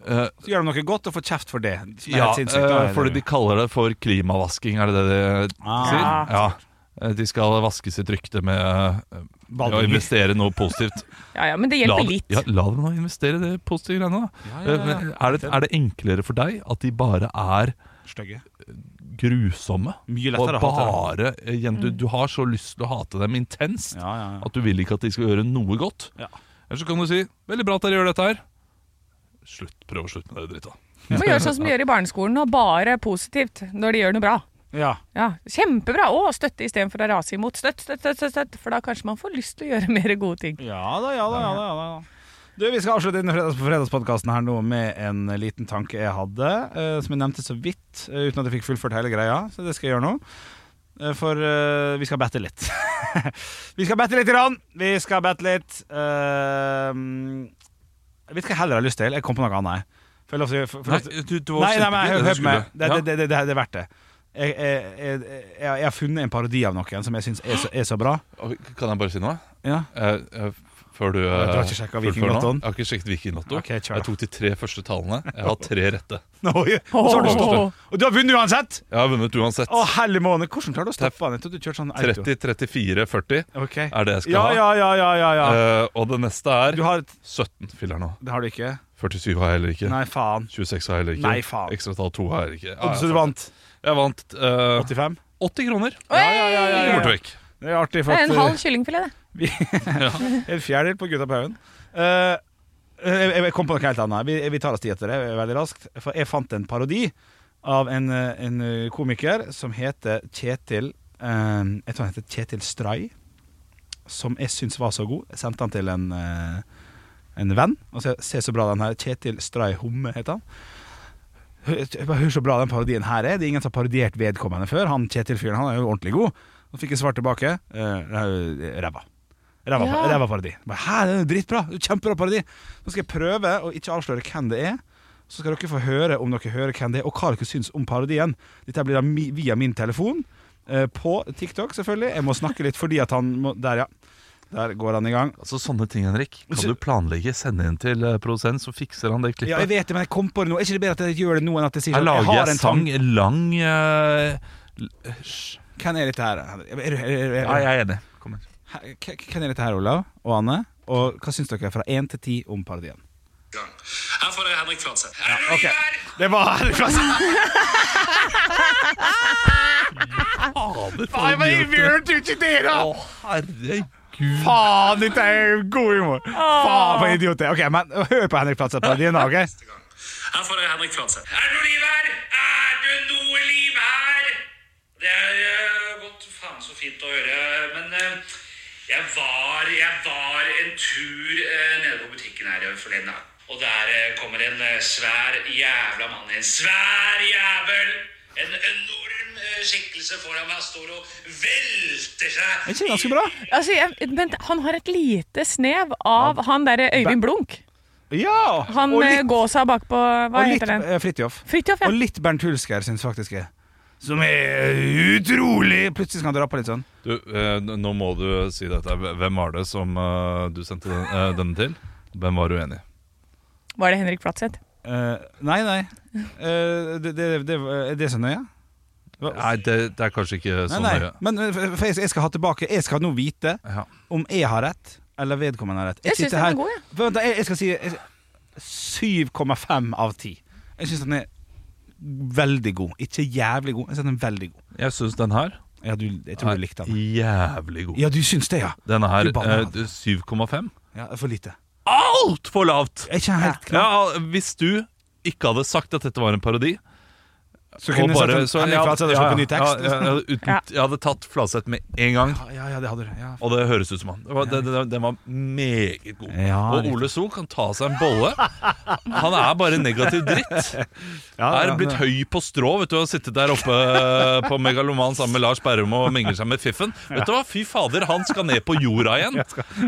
Speaker 2: Eh,
Speaker 4: Så gjør de noe godt og får kjeft for det. Som er
Speaker 2: ja,
Speaker 4: helt sinnssykt, da er
Speaker 2: eh,
Speaker 4: det-
Speaker 2: fordi de kaller det for klimavasking, er det det de sier?
Speaker 4: Ah,
Speaker 2: Ja. Eh, De skal vaske sitt rykte med eh,
Speaker 4: Valg.
Speaker 2: å investere noe positivt.
Speaker 3: Ja, ja, men det
Speaker 2: La,
Speaker 3: hjelper
Speaker 2: dem-
Speaker 3: litt.
Speaker 2: ja, la dem nå investere i det positive greiene, da. Eh, men Er, det, er det enklere for deg at de bare er
Speaker 4: Stygge.
Speaker 2: grusomme?
Speaker 4: Mye
Speaker 2: Og
Speaker 4: lettere å hate.
Speaker 2: bare eh, igjen, du, du har så lyst til å hate dem intenst
Speaker 4: Ja, ja, ja.
Speaker 2: at du vil ikke at de skal gjøre noe godt.
Speaker 4: Ja.
Speaker 2: Eller så kan du si 'veldig bra at dere gjør dette her'. Slutt, Prøv å slutte med det dritta.
Speaker 3: Du må gjøre sånn som de gjør i barneskolen, og bare positivt når de gjør noe bra.
Speaker 4: Ja.
Speaker 3: Ja, Kjempebra! Å, støtte istedenfor å rase imot. Støtt, støtt, støtt, støtt, støtt! For da kanskje man får lyst til å gjøre mer gode ting.
Speaker 4: Ja da, ja da, ja da, ja da. Du, Vi skal avslutte denne fredags fredagspodkasten her nå med en eh, liten tanke jeg hadde, eh, som jeg nevnte så vidt, eh, uten at jeg fikk fullført hele greia. Så det skal jeg gjøre nå. Eh, for eh, vi skal batte litt. vi skal batte litt, Iran! Vi skal batte litt. Eh, jeg vet ikke hva jeg heller har lyst til. Jeg kom på noe annet. Får jeg lov til å- får- får-
Speaker 2: du, du
Speaker 4: Nei, nei, men hør,
Speaker 2: det
Speaker 4: hør
Speaker 2: du
Speaker 4: på meg.
Speaker 2: skulle.
Speaker 4: Det,
Speaker 2: Ja.
Speaker 4: det, det, det, det er verdt det. Jeg, jeg, jeg, jeg, jeg har funnet en parodi av noen som jeg syns er, så- er så bra.
Speaker 2: Kan jeg bare si noe?
Speaker 4: Ja.
Speaker 2: Eh, eh, før du eh,
Speaker 4: Du har ikke sjekket
Speaker 2: fullfører nå.
Speaker 4: Vikinglottoen?
Speaker 2: Jeg har ikke sjekket Vikinglotto.
Speaker 4: Ok, kjør da.
Speaker 2: jeg tok de tre første tallene. Jeg har tre rette.
Speaker 4: Nå, og så har du stoppet.
Speaker 3: Åh.
Speaker 4: Og du har vunnet uansett!
Speaker 2: Jeg har vunnet uansett.
Speaker 4: Å, herlig måned! Hvordan klarer du å stoppe han? Jeg trodde du kjørte sånn auto.
Speaker 2: 30, 34, 40
Speaker 4: Ok.
Speaker 2: er det jeg skal
Speaker 4: Ja, ja, ja, ja, ja,
Speaker 2: ha.
Speaker 4: ja.
Speaker 2: Eh, og det neste er
Speaker 4: Du har et
Speaker 2: 17. Filler nå.
Speaker 4: Det har du ikke?
Speaker 2: 47 har jeg heller ikke.
Speaker 4: Nei, faen.
Speaker 2: 26 har jeg heller ikke.
Speaker 4: Nei, faen.
Speaker 2: Ekstratall 2 har jeg heller ikke. Ja,
Speaker 4: Og så
Speaker 2: jeg,
Speaker 4: du vant
Speaker 2: jeg vant eh,
Speaker 4: 85?
Speaker 2: 80 kroner.
Speaker 4: Ja, ja, ja, ja,
Speaker 2: Borte
Speaker 4: ja.
Speaker 2: vekk.
Speaker 4: Det er artig, for
Speaker 3: Det er en halv
Speaker 4: at eh,
Speaker 3: kyllingfilet, det.
Speaker 4: uh, En fjerdedel på Gutta på haugen. Eh, eh, jeg, jeg kom på noe helt annet. Vi, vi tar oss tid etter det eh, veldig raskt. For jeg fant en parodi av en, eh, en eh, komiker som heter Kjetil eh, Jeg tror han heter Kjetil Stray. Som jeg syns var så god. Jeg sendte han til en, eh, en venn. Og så Se så bra den her. Kjetil Stray Homme heter han. Hør, jeg bare, hør så bra den parodien her er. Det er ingen som har parodiert vedkommende før. Han Kjetil-fyren han er jo ordentlig god. Så fikk jeg svar tilbake. eh, Ræva. Ræva,
Speaker 3: Ja.
Speaker 4: ræva parodi. Bare, Hæ, det er jo dritbra! Kjempebra parodi! Nå skal jeg prøve å ikke avsløre hvem det er. Så skal dere få høre om dere hører hvem det er, og hva dere syns om parodien. Dette blir da mi, via min telefon. eh, på TikTok, selvfølgelig. Jeg må snakke litt fordi at han må Der, ja. Der går han i gang.
Speaker 2: Altså Sånne ting, Henrik. Kan du planlegge, sende inn til eh, produsent, så fikser han det klippet.
Speaker 4: Ja, jeg vet det, men jeg kom på det nå. Er ikke det bedre at jeg gjør det nå enn at jeg sier
Speaker 2: Her
Speaker 4: sånn
Speaker 2: lager
Speaker 4: har
Speaker 2: jeg
Speaker 4: en sånn-
Speaker 2: sang
Speaker 4: tanke-
Speaker 2: lang eh,
Speaker 4: Hvem er dette her? Henrik? Er- er- er- er-
Speaker 2: Ja, jeg er enig. Kom her.
Speaker 4: Her- k- Hvem er dette her, Olav og Anne? Og hva syns dere fra én til ti om parodien?
Speaker 6: Her får dere Henrik Fladseth.
Speaker 4: Ok, Det var Henrik Fladseth. Faen, men jeg hørte jo ikke det, da!
Speaker 2: Å, herregud.
Speaker 4: Faen, dette er jo god humor! Faen, for en idiot. jeg er. Ok, men Hør på Henrik Fladseth-parodien, da. ok?
Speaker 6: Her får dere Henrik Fladseth. Er det noe liv her? Er det noe liv her? Det er eh, godt faen så fint å høre, men eh, jeg var, jeg var en tur eh, nede på butikken her forleden. da. Og der eh, kommer en eh, svær jævla mann. En svær jævel! En enorm eh, skikkelse foran meg står og velter seg
Speaker 4: Er ikke det ganske bra?
Speaker 3: Altså, jeg, men han har et lite snev av han derre Øyvind Blunk.
Speaker 4: Ja!
Speaker 3: Han
Speaker 4: og
Speaker 3: eh,
Speaker 4: litt,
Speaker 3: gåsa bakpå Hva
Speaker 4: og litt
Speaker 3: heter den?
Speaker 4: eh, Fridtjof.
Speaker 3: Fridtjof, ja.
Speaker 4: Og litt Bernt Hulsker, syns faktisk jeg. som er utrolig Plutselig skal han dra på litt sånn.
Speaker 2: Du, eh, n- nå må du si dette. Hvem var det som eh, du sendte den, eh, denne til? Hvem var du enig i?
Speaker 3: Var det Henrik Flatseth?
Speaker 4: Eh, nei, nei. Eh, det, det, det, er det så nøye?
Speaker 2: Nei, det, det er kanskje ikke
Speaker 4: Nei,
Speaker 2: så
Speaker 4: nei.
Speaker 2: nøye.
Speaker 4: Men eh, for jeg, jeg skal ha tilbake Jeg skal nå vite
Speaker 2: Ja.
Speaker 4: om jeg har rett, eller vedkommende har rett.
Speaker 3: Jeg syns
Speaker 4: sitter
Speaker 3: den
Speaker 4: her-
Speaker 3: er god, jeg.
Speaker 4: Vent, da, jeg, jeg skal si jeg- 7,5 av 10. Jeg syns den er veldig god. Ikke jævlig god, jeg syns den er veldig god.
Speaker 2: Jeg syns den her
Speaker 4: Ja, du, jeg tror du likte den.
Speaker 2: jævlig god.
Speaker 4: Ja, du syns det, ja?
Speaker 2: Denne her
Speaker 4: Du banner
Speaker 2: eh,
Speaker 4: han.
Speaker 2: 7,5.
Speaker 4: ja det er for lite.
Speaker 2: Altfor lavt!
Speaker 4: Jeg er ikke helt klar.
Speaker 2: Ja, hvis du ikke hadde sagt at dette var en parodi
Speaker 4: Så kunne jeg sagt en-
Speaker 2: så-
Speaker 4: Henrik Fladseth har
Speaker 2: ja,
Speaker 4: sluppet ny tekst.
Speaker 2: ja, ja, ja, uten,
Speaker 3: Ja.
Speaker 2: Jeg hadde tatt Fladseth med en gang,
Speaker 4: Ja, ja, det hadde du. Ja.
Speaker 2: og det høres ut som han. Det var, det, det, den var meget god.
Speaker 4: Ja,
Speaker 2: og Ole So kan ta seg en bolle. Han er bare negativ dritt.
Speaker 4: Ja,
Speaker 2: Er
Speaker 4: ja,
Speaker 2: blitt
Speaker 4: det-
Speaker 2: høy på strå. Vet du, Har sittet der oppe eh, på Megaloman sammen med Lars Berrum og mingler seg med Fiffen. Vet du hva, Fy fader, han skal ned på jorda igjen!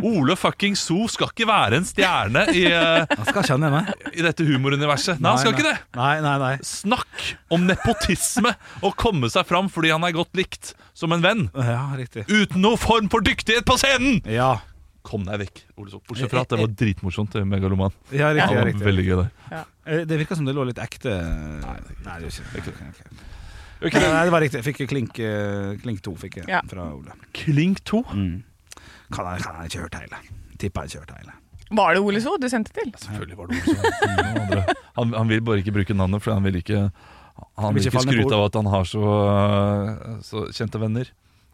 Speaker 2: Ole fucking So skal ikke være en stjerne i, eh,
Speaker 4: Han skal kjenne meg.
Speaker 2: i dette humoruniverset. Nei, han skal ikke det!
Speaker 4: Nei, nei, nei.
Speaker 2: Snakk om nepotisme og komme seg fram fordi han er godt likt som en venn.
Speaker 4: Ja, riktig.
Speaker 2: Uten noe form for dyktighet på scenen!
Speaker 4: Ja,
Speaker 2: Kom deg vekk, Ole So. Bortsett fra at det var dritmorsomt, det Megaloman.
Speaker 4: ja riktig.
Speaker 2: Han
Speaker 4: Ja,
Speaker 2: var
Speaker 4: riktig.
Speaker 2: veldig gøy der.
Speaker 4: Eh, Det virka som det lå litt ekte Nei, det er ikke det.
Speaker 2: Ok.
Speaker 4: Nei, det var riktig. Jeg fikk klink, eh, klink to fikk jeg
Speaker 3: Ja.
Speaker 4: fra Ole.
Speaker 2: Klink to.
Speaker 4: Mm. Kan han, kan han ikke hørt hele? Tipper han ikke hørt hele.
Speaker 3: Var det Ole So du sendte til?
Speaker 2: Selvfølgelig var det Olsen. Noen andre. Han, han vil bare ikke bruke navnet, for han vil ikke, han vil ikke
Speaker 4: ikke falle ned på
Speaker 2: skryte
Speaker 4: ord.
Speaker 2: av at han har så, så kjente venner.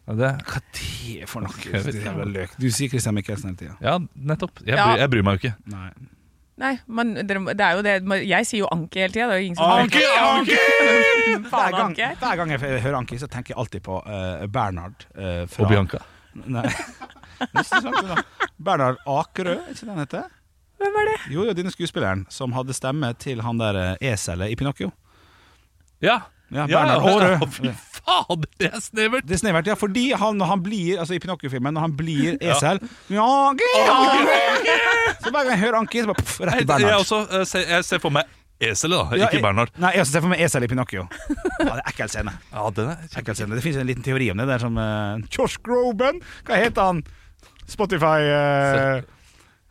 Speaker 2: Er det?
Speaker 4: Hva det er for
Speaker 2: Jeg vet
Speaker 4: noe
Speaker 2: ikke.
Speaker 4: jævla løk? Du sier Christian Michelsen hele tida.
Speaker 2: Ja, nettopp. Jeg,
Speaker 3: Ja.
Speaker 2: Bryr, jeg bryr meg jo ikke.
Speaker 4: Nei.
Speaker 3: Nei, men dere, må- det er jo det men Jeg sier jo Anki hele tida. Det er jo ingen som
Speaker 4: Anki,
Speaker 3: Anki!
Speaker 4: Hver
Speaker 3: Faen,
Speaker 4: gang,
Speaker 3: Anki.
Speaker 4: hver gang jeg hører Anki, så tenker jeg alltid på eh, Bernhard eh, fra
Speaker 2: Og Bianca.
Speaker 4: Nei. Nesten sant, det da. Bernhard Akerø, er ikke det han heter?
Speaker 3: Hvem er det?
Speaker 4: Jo, jo, denne skuespilleren som hadde stemme til han der eh, eselet i Pinocchio.
Speaker 2: Ja!
Speaker 4: Ja,
Speaker 2: Ja,
Speaker 4: Bernhard
Speaker 2: ja,
Speaker 4: Aarø.
Speaker 2: Fy fader, det er snevert!
Speaker 4: Det er snevert, ja, fordi han, når han blir Altså i Pinocchio-filmen, når han blir esel ja. Anki, Anki! Så hver gang jeg hører Anki, så bare poff, rett
Speaker 2: Jeg,
Speaker 4: til
Speaker 2: jeg,
Speaker 4: Bernhard.
Speaker 2: også, eh, ser, jeg ser for meg eselet, da,
Speaker 4: Ja,
Speaker 2: ikke
Speaker 4: jeg-
Speaker 2: Bernhard.
Speaker 4: Nei, jeg også ser for meg esel i Pinocchio. Ja, det er ekkel scene.
Speaker 2: Ja, den er
Speaker 4: Ekkel scene. Det fins en liten teori om det. Det er som eh, Josh Groban. Hva heter han? Spotify eh,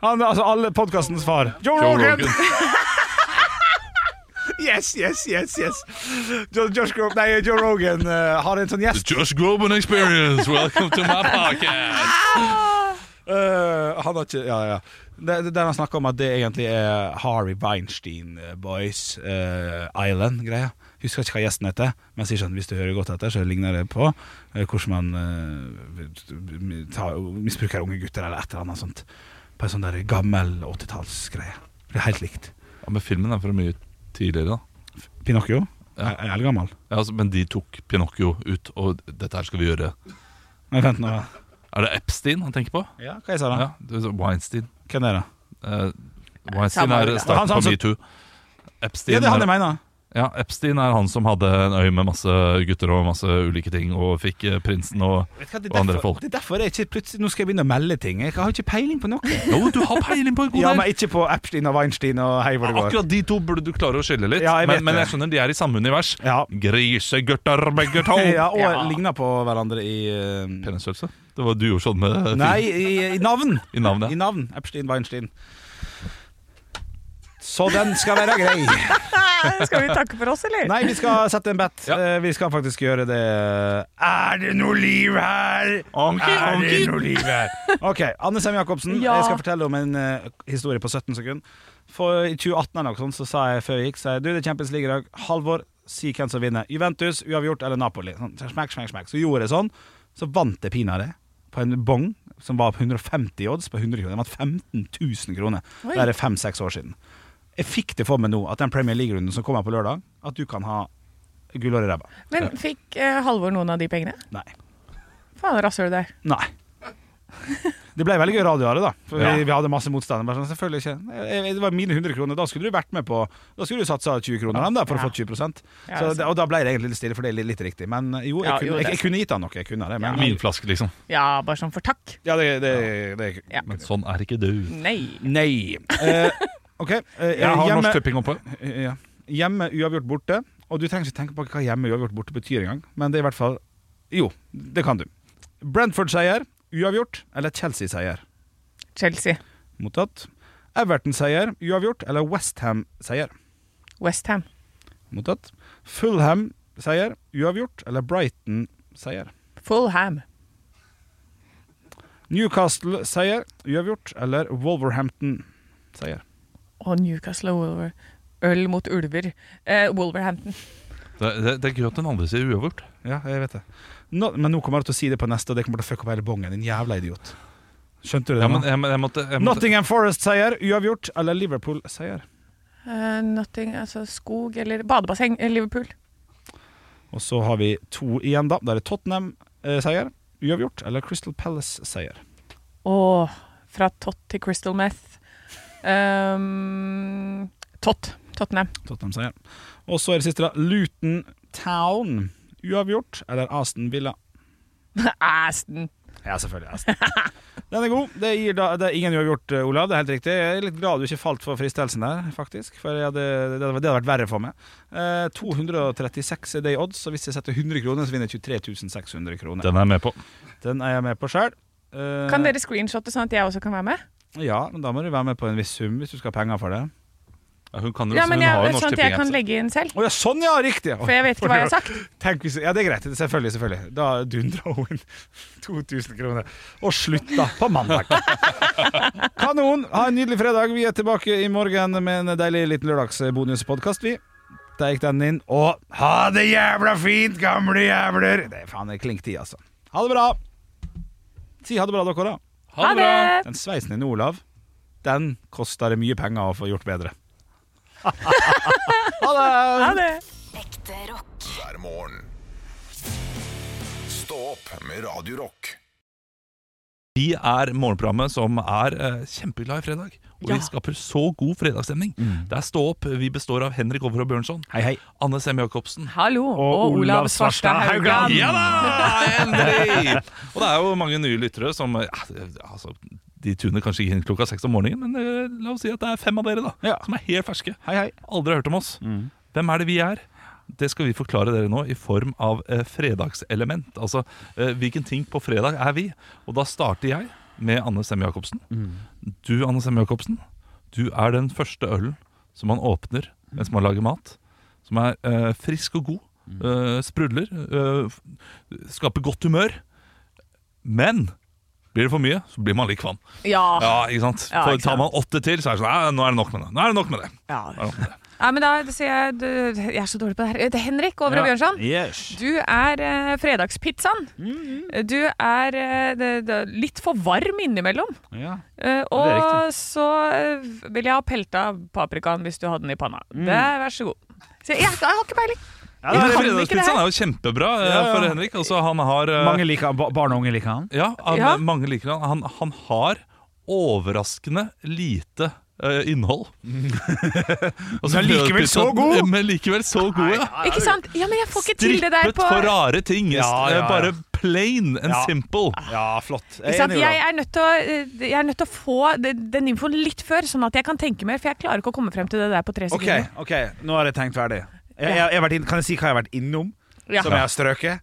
Speaker 4: Han altså alle podkastens far. Joe
Speaker 2: Joe
Speaker 4: Rogan!
Speaker 2: Rogan.
Speaker 4: Yes, yes, yes! yes Jo- Josh Groban Nei, Joe Rogan eh, har en sånn
Speaker 2: The
Speaker 4: gjest.
Speaker 2: Josh Groban Experience, welcome to my podcast!
Speaker 4: Eh, han har ikke Ja, ja. Der, der han snakker om at det egentlig er Harry Weinstein eh, Boys eh, Island-greia. Husker ikke hva gjesten heter, men sier sånn, hvis du hører godt etter, så ligner det på eh, hvordan man eh, tar, misbruker unge gutter eller et eller annet sånt. På en sånn der gammel 80-tallsgreie. Det er helt likt.
Speaker 2: Ja, men filmen er fra mye tidligere, da.
Speaker 4: Pinocchio er er eldgammel.
Speaker 2: Ja, altså, men de tok Pinocchio ut, og dette her skal vi gjøre.
Speaker 4: Nei, vent nå.
Speaker 2: Er det Epstein han tenker på?
Speaker 4: Ja, hva jeg sa da?
Speaker 2: Ja, det er Weinstein.
Speaker 4: Hvem er det?
Speaker 2: Eh, Weinstein
Speaker 3: Samme
Speaker 2: er
Speaker 3: ordet.
Speaker 2: starten
Speaker 4: Han- han
Speaker 2: på
Speaker 4: som-
Speaker 2: metoo. Epstein,
Speaker 4: Ja, det er han
Speaker 2: er-
Speaker 4: jeg mener.
Speaker 2: ja, Epstein er han som hadde en øy med masse gutter og masse ulike ting, og fikk eh, prinsen og
Speaker 4: Vet du hva, det,
Speaker 2: Og andre
Speaker 4: er derfor,
Speaker 2: folk.
Speaker 4: det er derfor jeg ikke plutselig Nå skal jeg begynne å melde ting. Jeg har jo ikke peiling på noe.
Speaker 2: Jo, du har peiling på en god
Speaker 4: Ja,
Speaker 2: del!
Speaker 4: men ikke på Epstein og Weinstein og hei hvor det går.
Speaker 2: Akkurat de to burde du klare å skille litt,
Speaker 4: Ja, jeg vet
Speaker 2: men, men
Speaker 4: det.
Speaker 2: jeg skjønner de er i samme univers.
Speaker 4: Ja.
Speaker 2: Grisegørter begge to!
Speaker 4: Ja, og ligner på hverandre i eh,
Speaker 2: Penisstørrelse. Det var du gjorde sånn med eh,
Speaker 4: Nei, i, i navn.
Speaker 2: I navnet.
Speaker 4: I navn. Epstein, Weinstein. Så den skal være grei.
Speaker 3: Skal vi takke for oss, eller?
Speaker 4: Nei, vi skal sette en bet.
Speaker 2: Ja.
Speaker 4: Eh, Vi skal faktisk gjøre det Er det noe liv her?
Speaker 2: Anki,
Speaker 4: er
Speaker 2: anki.
Speaker 4: det noe liv her? Ok, Anne Sem Jacobsen,
Speaker 3: Ja.
Speaker 4: jeg skal fortelle om en eh, historie på 17 sekunder. For I 2018 eller noe sånt, så sa jeg før jeg gikk sa jeg, du, det er Champions League i dag. Halvor, si hvem som vinner. Juventus, uavgjort eller Napoli. Sånn, smekk, smekk, smekk. Så gjorde jeg sånn. Så vant jeg pinadø på en bong som var på 150 i odds på 100 kroner. Den vant 15 000 kroner.
Speaker 3: Oi.
Speaker 4: Det er fem-seks år siden. Jeg fikk det for meg nå at den Premier League-runden som kommer på lørdag, at du kan ha gullår i ræva.
Speaker 3: Men fikk eh, Halvor noen av de pengene?
Speaker 4: Nei.
Speaker 3: Faen, rasshøl der.
Speaker 4: Nei. Det ble veldig gøy radioare, da. For
Speaker 2: Ja.
Speaker 4: vi, vi hadde masse motstandere. Bare Sånn, selvfølgelig ikke. Jeg- jeg- Det var mine 100 kroner. Da skulle du vært med på Da skulle du satsa 20 kroner dem, da, for å
Speaker 3: Ja.
Speaker 4: få 20
Speaker 3: Ja,
Speaker 4: så
Speaker 3: det er
Speaker 4: det, Og da ble det egentlig litt stille, for det er litt, litt riktig. Men eh, jo, jeg,
Speaker 3: Ja, jo,
Speaker 4: kunne,
Speaker 3: det
Speaker 4: jeg,
Speaker 3: er
Speaker 4: jeg kunne gitt han noe. Jeg kunne det. Men,
Speaker 2: Vinflaske, liksom.
Speaker 3: Ja, bare sånn for takk.
Speaker 4: ja, det, det, det,
Speaker 3: Ja.
Speaker 2: Men sånn er ikke du.
Speaker 3: Nei.
Speaker 4: Nei. Eh, OK. eh,
Speaker 2: Jeg har
Speaker 4: hjemme-
Speaker 2: Norsk Tipping oppe.
Speaker 4: Ja. Hjemme uavgjort borte. Og du trenger ikke tenke på hva hjemmeavgjort borte betyr engang, men det er i hvert fall Jo, det kan du. Brentford-seier, uavgjort, eller Chelsea-seier?
Speaker 3: Chelsea.
Speaker 4: Mottatt. Everton-seier, uavgjort, eller Westham-seier?
Speaker 3: Westham.
Speaker 4: Mottatt. Fulham-seier, uavgjort, eller Brighton-seier?
Speaker 3: Fullham.
Speaker 4: Newcastle-seier, uavgjort, eller Wolverhampton-seier?
Speaker 3: Og Newcastle og Wolver. Øl mot ulver. Eh, Wolverhampton.
Speaker 2: Det, det, det er gøy at den andre sier uavgjort.
Speaker 4: Ja, jeg vet det. Nå, men nå kommer du til å si det på neste, og det kommer til å fucke opp hele bongen, din jævla idiot. Skjønte du det?
Speaker 2: Ja,
Speaker 4: nå?
Speaker 2: men jeg, jeg måtte, jeg måtte
Speaker 4: Nottingham Forest-seier, uavgjort, eller Liverpool-seier?
Speaker 3: Eh, nothing, altså skog eller badebasseng. eh, Liverpool.
Speaker 4: Og så har vi to igjen, da. Da er det Tottenham-seier, uavgjort, eller Crystal Palace-seier.
Speaker 3: Og fra Tott til Crystal Meth. Um, Tott. Tottenham.
Speaker 4: Tottenham-seier. Og så er det siste, da. Luton Town, uavgjort, eller Aston Villa?
Speaker 3: Aston.
Speaker 4: Ja, selvfølgelig. Aston. Den er god. Det, gir da, det er ingen uavgjort, eh, Olav. Det er helt riktig. Jeg er litt glad du ikke falt for fristelsen der, faktisk. For jeg hadde, det, hadde, det hadde vært verre for meg. Eh, 236 er det i odds, så hvis jeg setter 100 kroner, så vinner jeg 23 600 kroner.
Speaker 2: Den er jeg med på.
Speaker 4: Den er jeg med på sjøl.
Speaker 3: Kan dere screenshotte sånn at jeg også kan være med?
Speaker 4: Ja, men da må du være med på en viss sum hvis du skal ha penger for det.
Speaker 2: Ja, hun kan jo,
Speaker 3: Ja,
Speaker 2: så
Speaker 3: men
Speaker 2: hun har
Speaker 3: jeg,
Speaker 2: jo norsk
Speaker 3: sånn at jeg kan
Speaker 2: tipping.
Speaker 3: legge inn selv.
Speaker 4: Å ja, sånn ja, riktig!
Speaker 3: For jeg vet ikke hva jeg har sagt.
Speaker 4: Tenk hvis, ja, det er greit. Selvfølgelig. selvfølgelig Da dundra hun 2000 kroner. Og slutta på mandag. Kanon! Ha en nydelig fredag. Vi er tilbake i morgen med en deilig liten lørdagsbonuspodkast, vi. Der gikk den inn. Og ha det jævla fint, gamle jævler! Det er faen det er klink tid, altså. Ha det bra! Si ha det bra, dere, da.
Speaker 3: Ha det!
Speaker 4: Den sveisen din, Olav, den koster det mye penger å få gjort bedre. ha det!
Speaker 3: Ha det!
Speaker 7: Ekte rock.
Speaker 8: hver morgen. Stå opp med Radio Rock.
Speaker 2: Vi er morgenprogrammet som er eh, kjempeglad i fredag. Og vi skaper så god fredagsstemning. Det er Stå opp. Vi består av Henrik Over og Bjørnson.
Speaker 4: Hei, hei.
Speaker 2: Anne Sem Jacobsen.
Speaker 3: Hallo, og Olav Svarstad Haugland.
Speaker 2: Ja da! Endelig! og det er jo mange nye lyttere som eh, altså, De tuner kanskje ikke inn klokka seks om morgenen, men eh, la oss si at det er fem av dere da
Speaker 4: Ja.
Speaker 2: som er helt ferske.
Speaker 4: Hei, hei. Mm.
Speaker 2: Aldri har hørt om oss. Hvem er det vi er? Det skal vi forklare dere nå i form av eh, fredagselement. Altså eh, hvilken ting på fredag er vi? Og da starter jeg med Anne Semme Jacobsen.
Speaker 4: Mm.
Speaker 2: Du, Anne Semme Jacobsen, du er den første ølen som man åpner mens man lager mat. Som er eh, frisk og god.
Speaker 4: Mm.
Speaker 2: Eh, sprudler. Eh, f- skaper godt humør. Men blir det for mye, så blir man litt kvam.
Speaker 3: Ja.
Speaker 2: Ja, ikke sant?
Speaker 3: Ah. Ja,
Speaker 2: For
Speaker 3: ikke
Speaker 2: Tar man åtte til, så er det sånn "Nei, Nå er det nok med det. Nå er det nok med det. Nå er det nok med det.
Speaker 3: ja, men da sier jeg du, Jeg er så dårlig på det her. Det er Henrik Over og Bjørnson. Du er eh, fredagspizzaen. Du er eh, det, det, er litt for varm innimellom.
Speaker 4: Ja.
Speaker 3: Eh,
Speaker 4: det er
Speaker 3: og så eh, vil jeg ha pelta paprikaen hvis du hadde den i panna. Det, vær så god. Så jeg, jeg har ikke peiling.
Speaker 4: Ja,
Speaker 2: Ja,
Speaker 4: det er,
Speaker 3: kan ikke det
Speaker 2: Fredagspizzaen
Speaker 3: her.
Speaker 2: er jo kjempebra eh,
Speaker 4: Ja, ja.
Speaker 2: for Henrik. Altså, han har eh,
Speaker 4: mange liker han, ba- barn og unge liker han.
Speaker 2: ja, han,
Speaker 3: Ja.
Speaker 2: mange liker han. Han, han har overraskende lite eh, innhold. Altså,
Speaker 4: Men likevel så
Speaker 2: fredagspizzaen-
Speaker 4: god!
Speaker 2: Eh, Men likevel så god, ja.
Speaker 3: Ikke sant? Ja, men jeg får ikke til det der
Speaker 2: Strippet
Speaker 3: på
Speaker 2: for rare ting.
Speaker 4: Ja, ja, ja.
Speaker 2: eh, Bare plain and
Speaker 4: Ja.
Speaker 2: simple.
Speaker 4: Ja, flott.
Speaker 3: Ikke sant? Jeg, er nødt til å, eh, jeg er nødt til å få de- den infoen litt før, sånn at jeg kan tenke mer. For jeg klarer ikke å komme frem til det der på tre
Speaker 4: Ok,
Speaker 3: sekunder.
Speaker 4: ok, nå har jeg tenkt ferdig. Jeg, jeg, jeg har vært inn, kan jeg si hva jeg har vært innom,
Speaker 3: Ja.
Speaker 4: som jeg har strøket?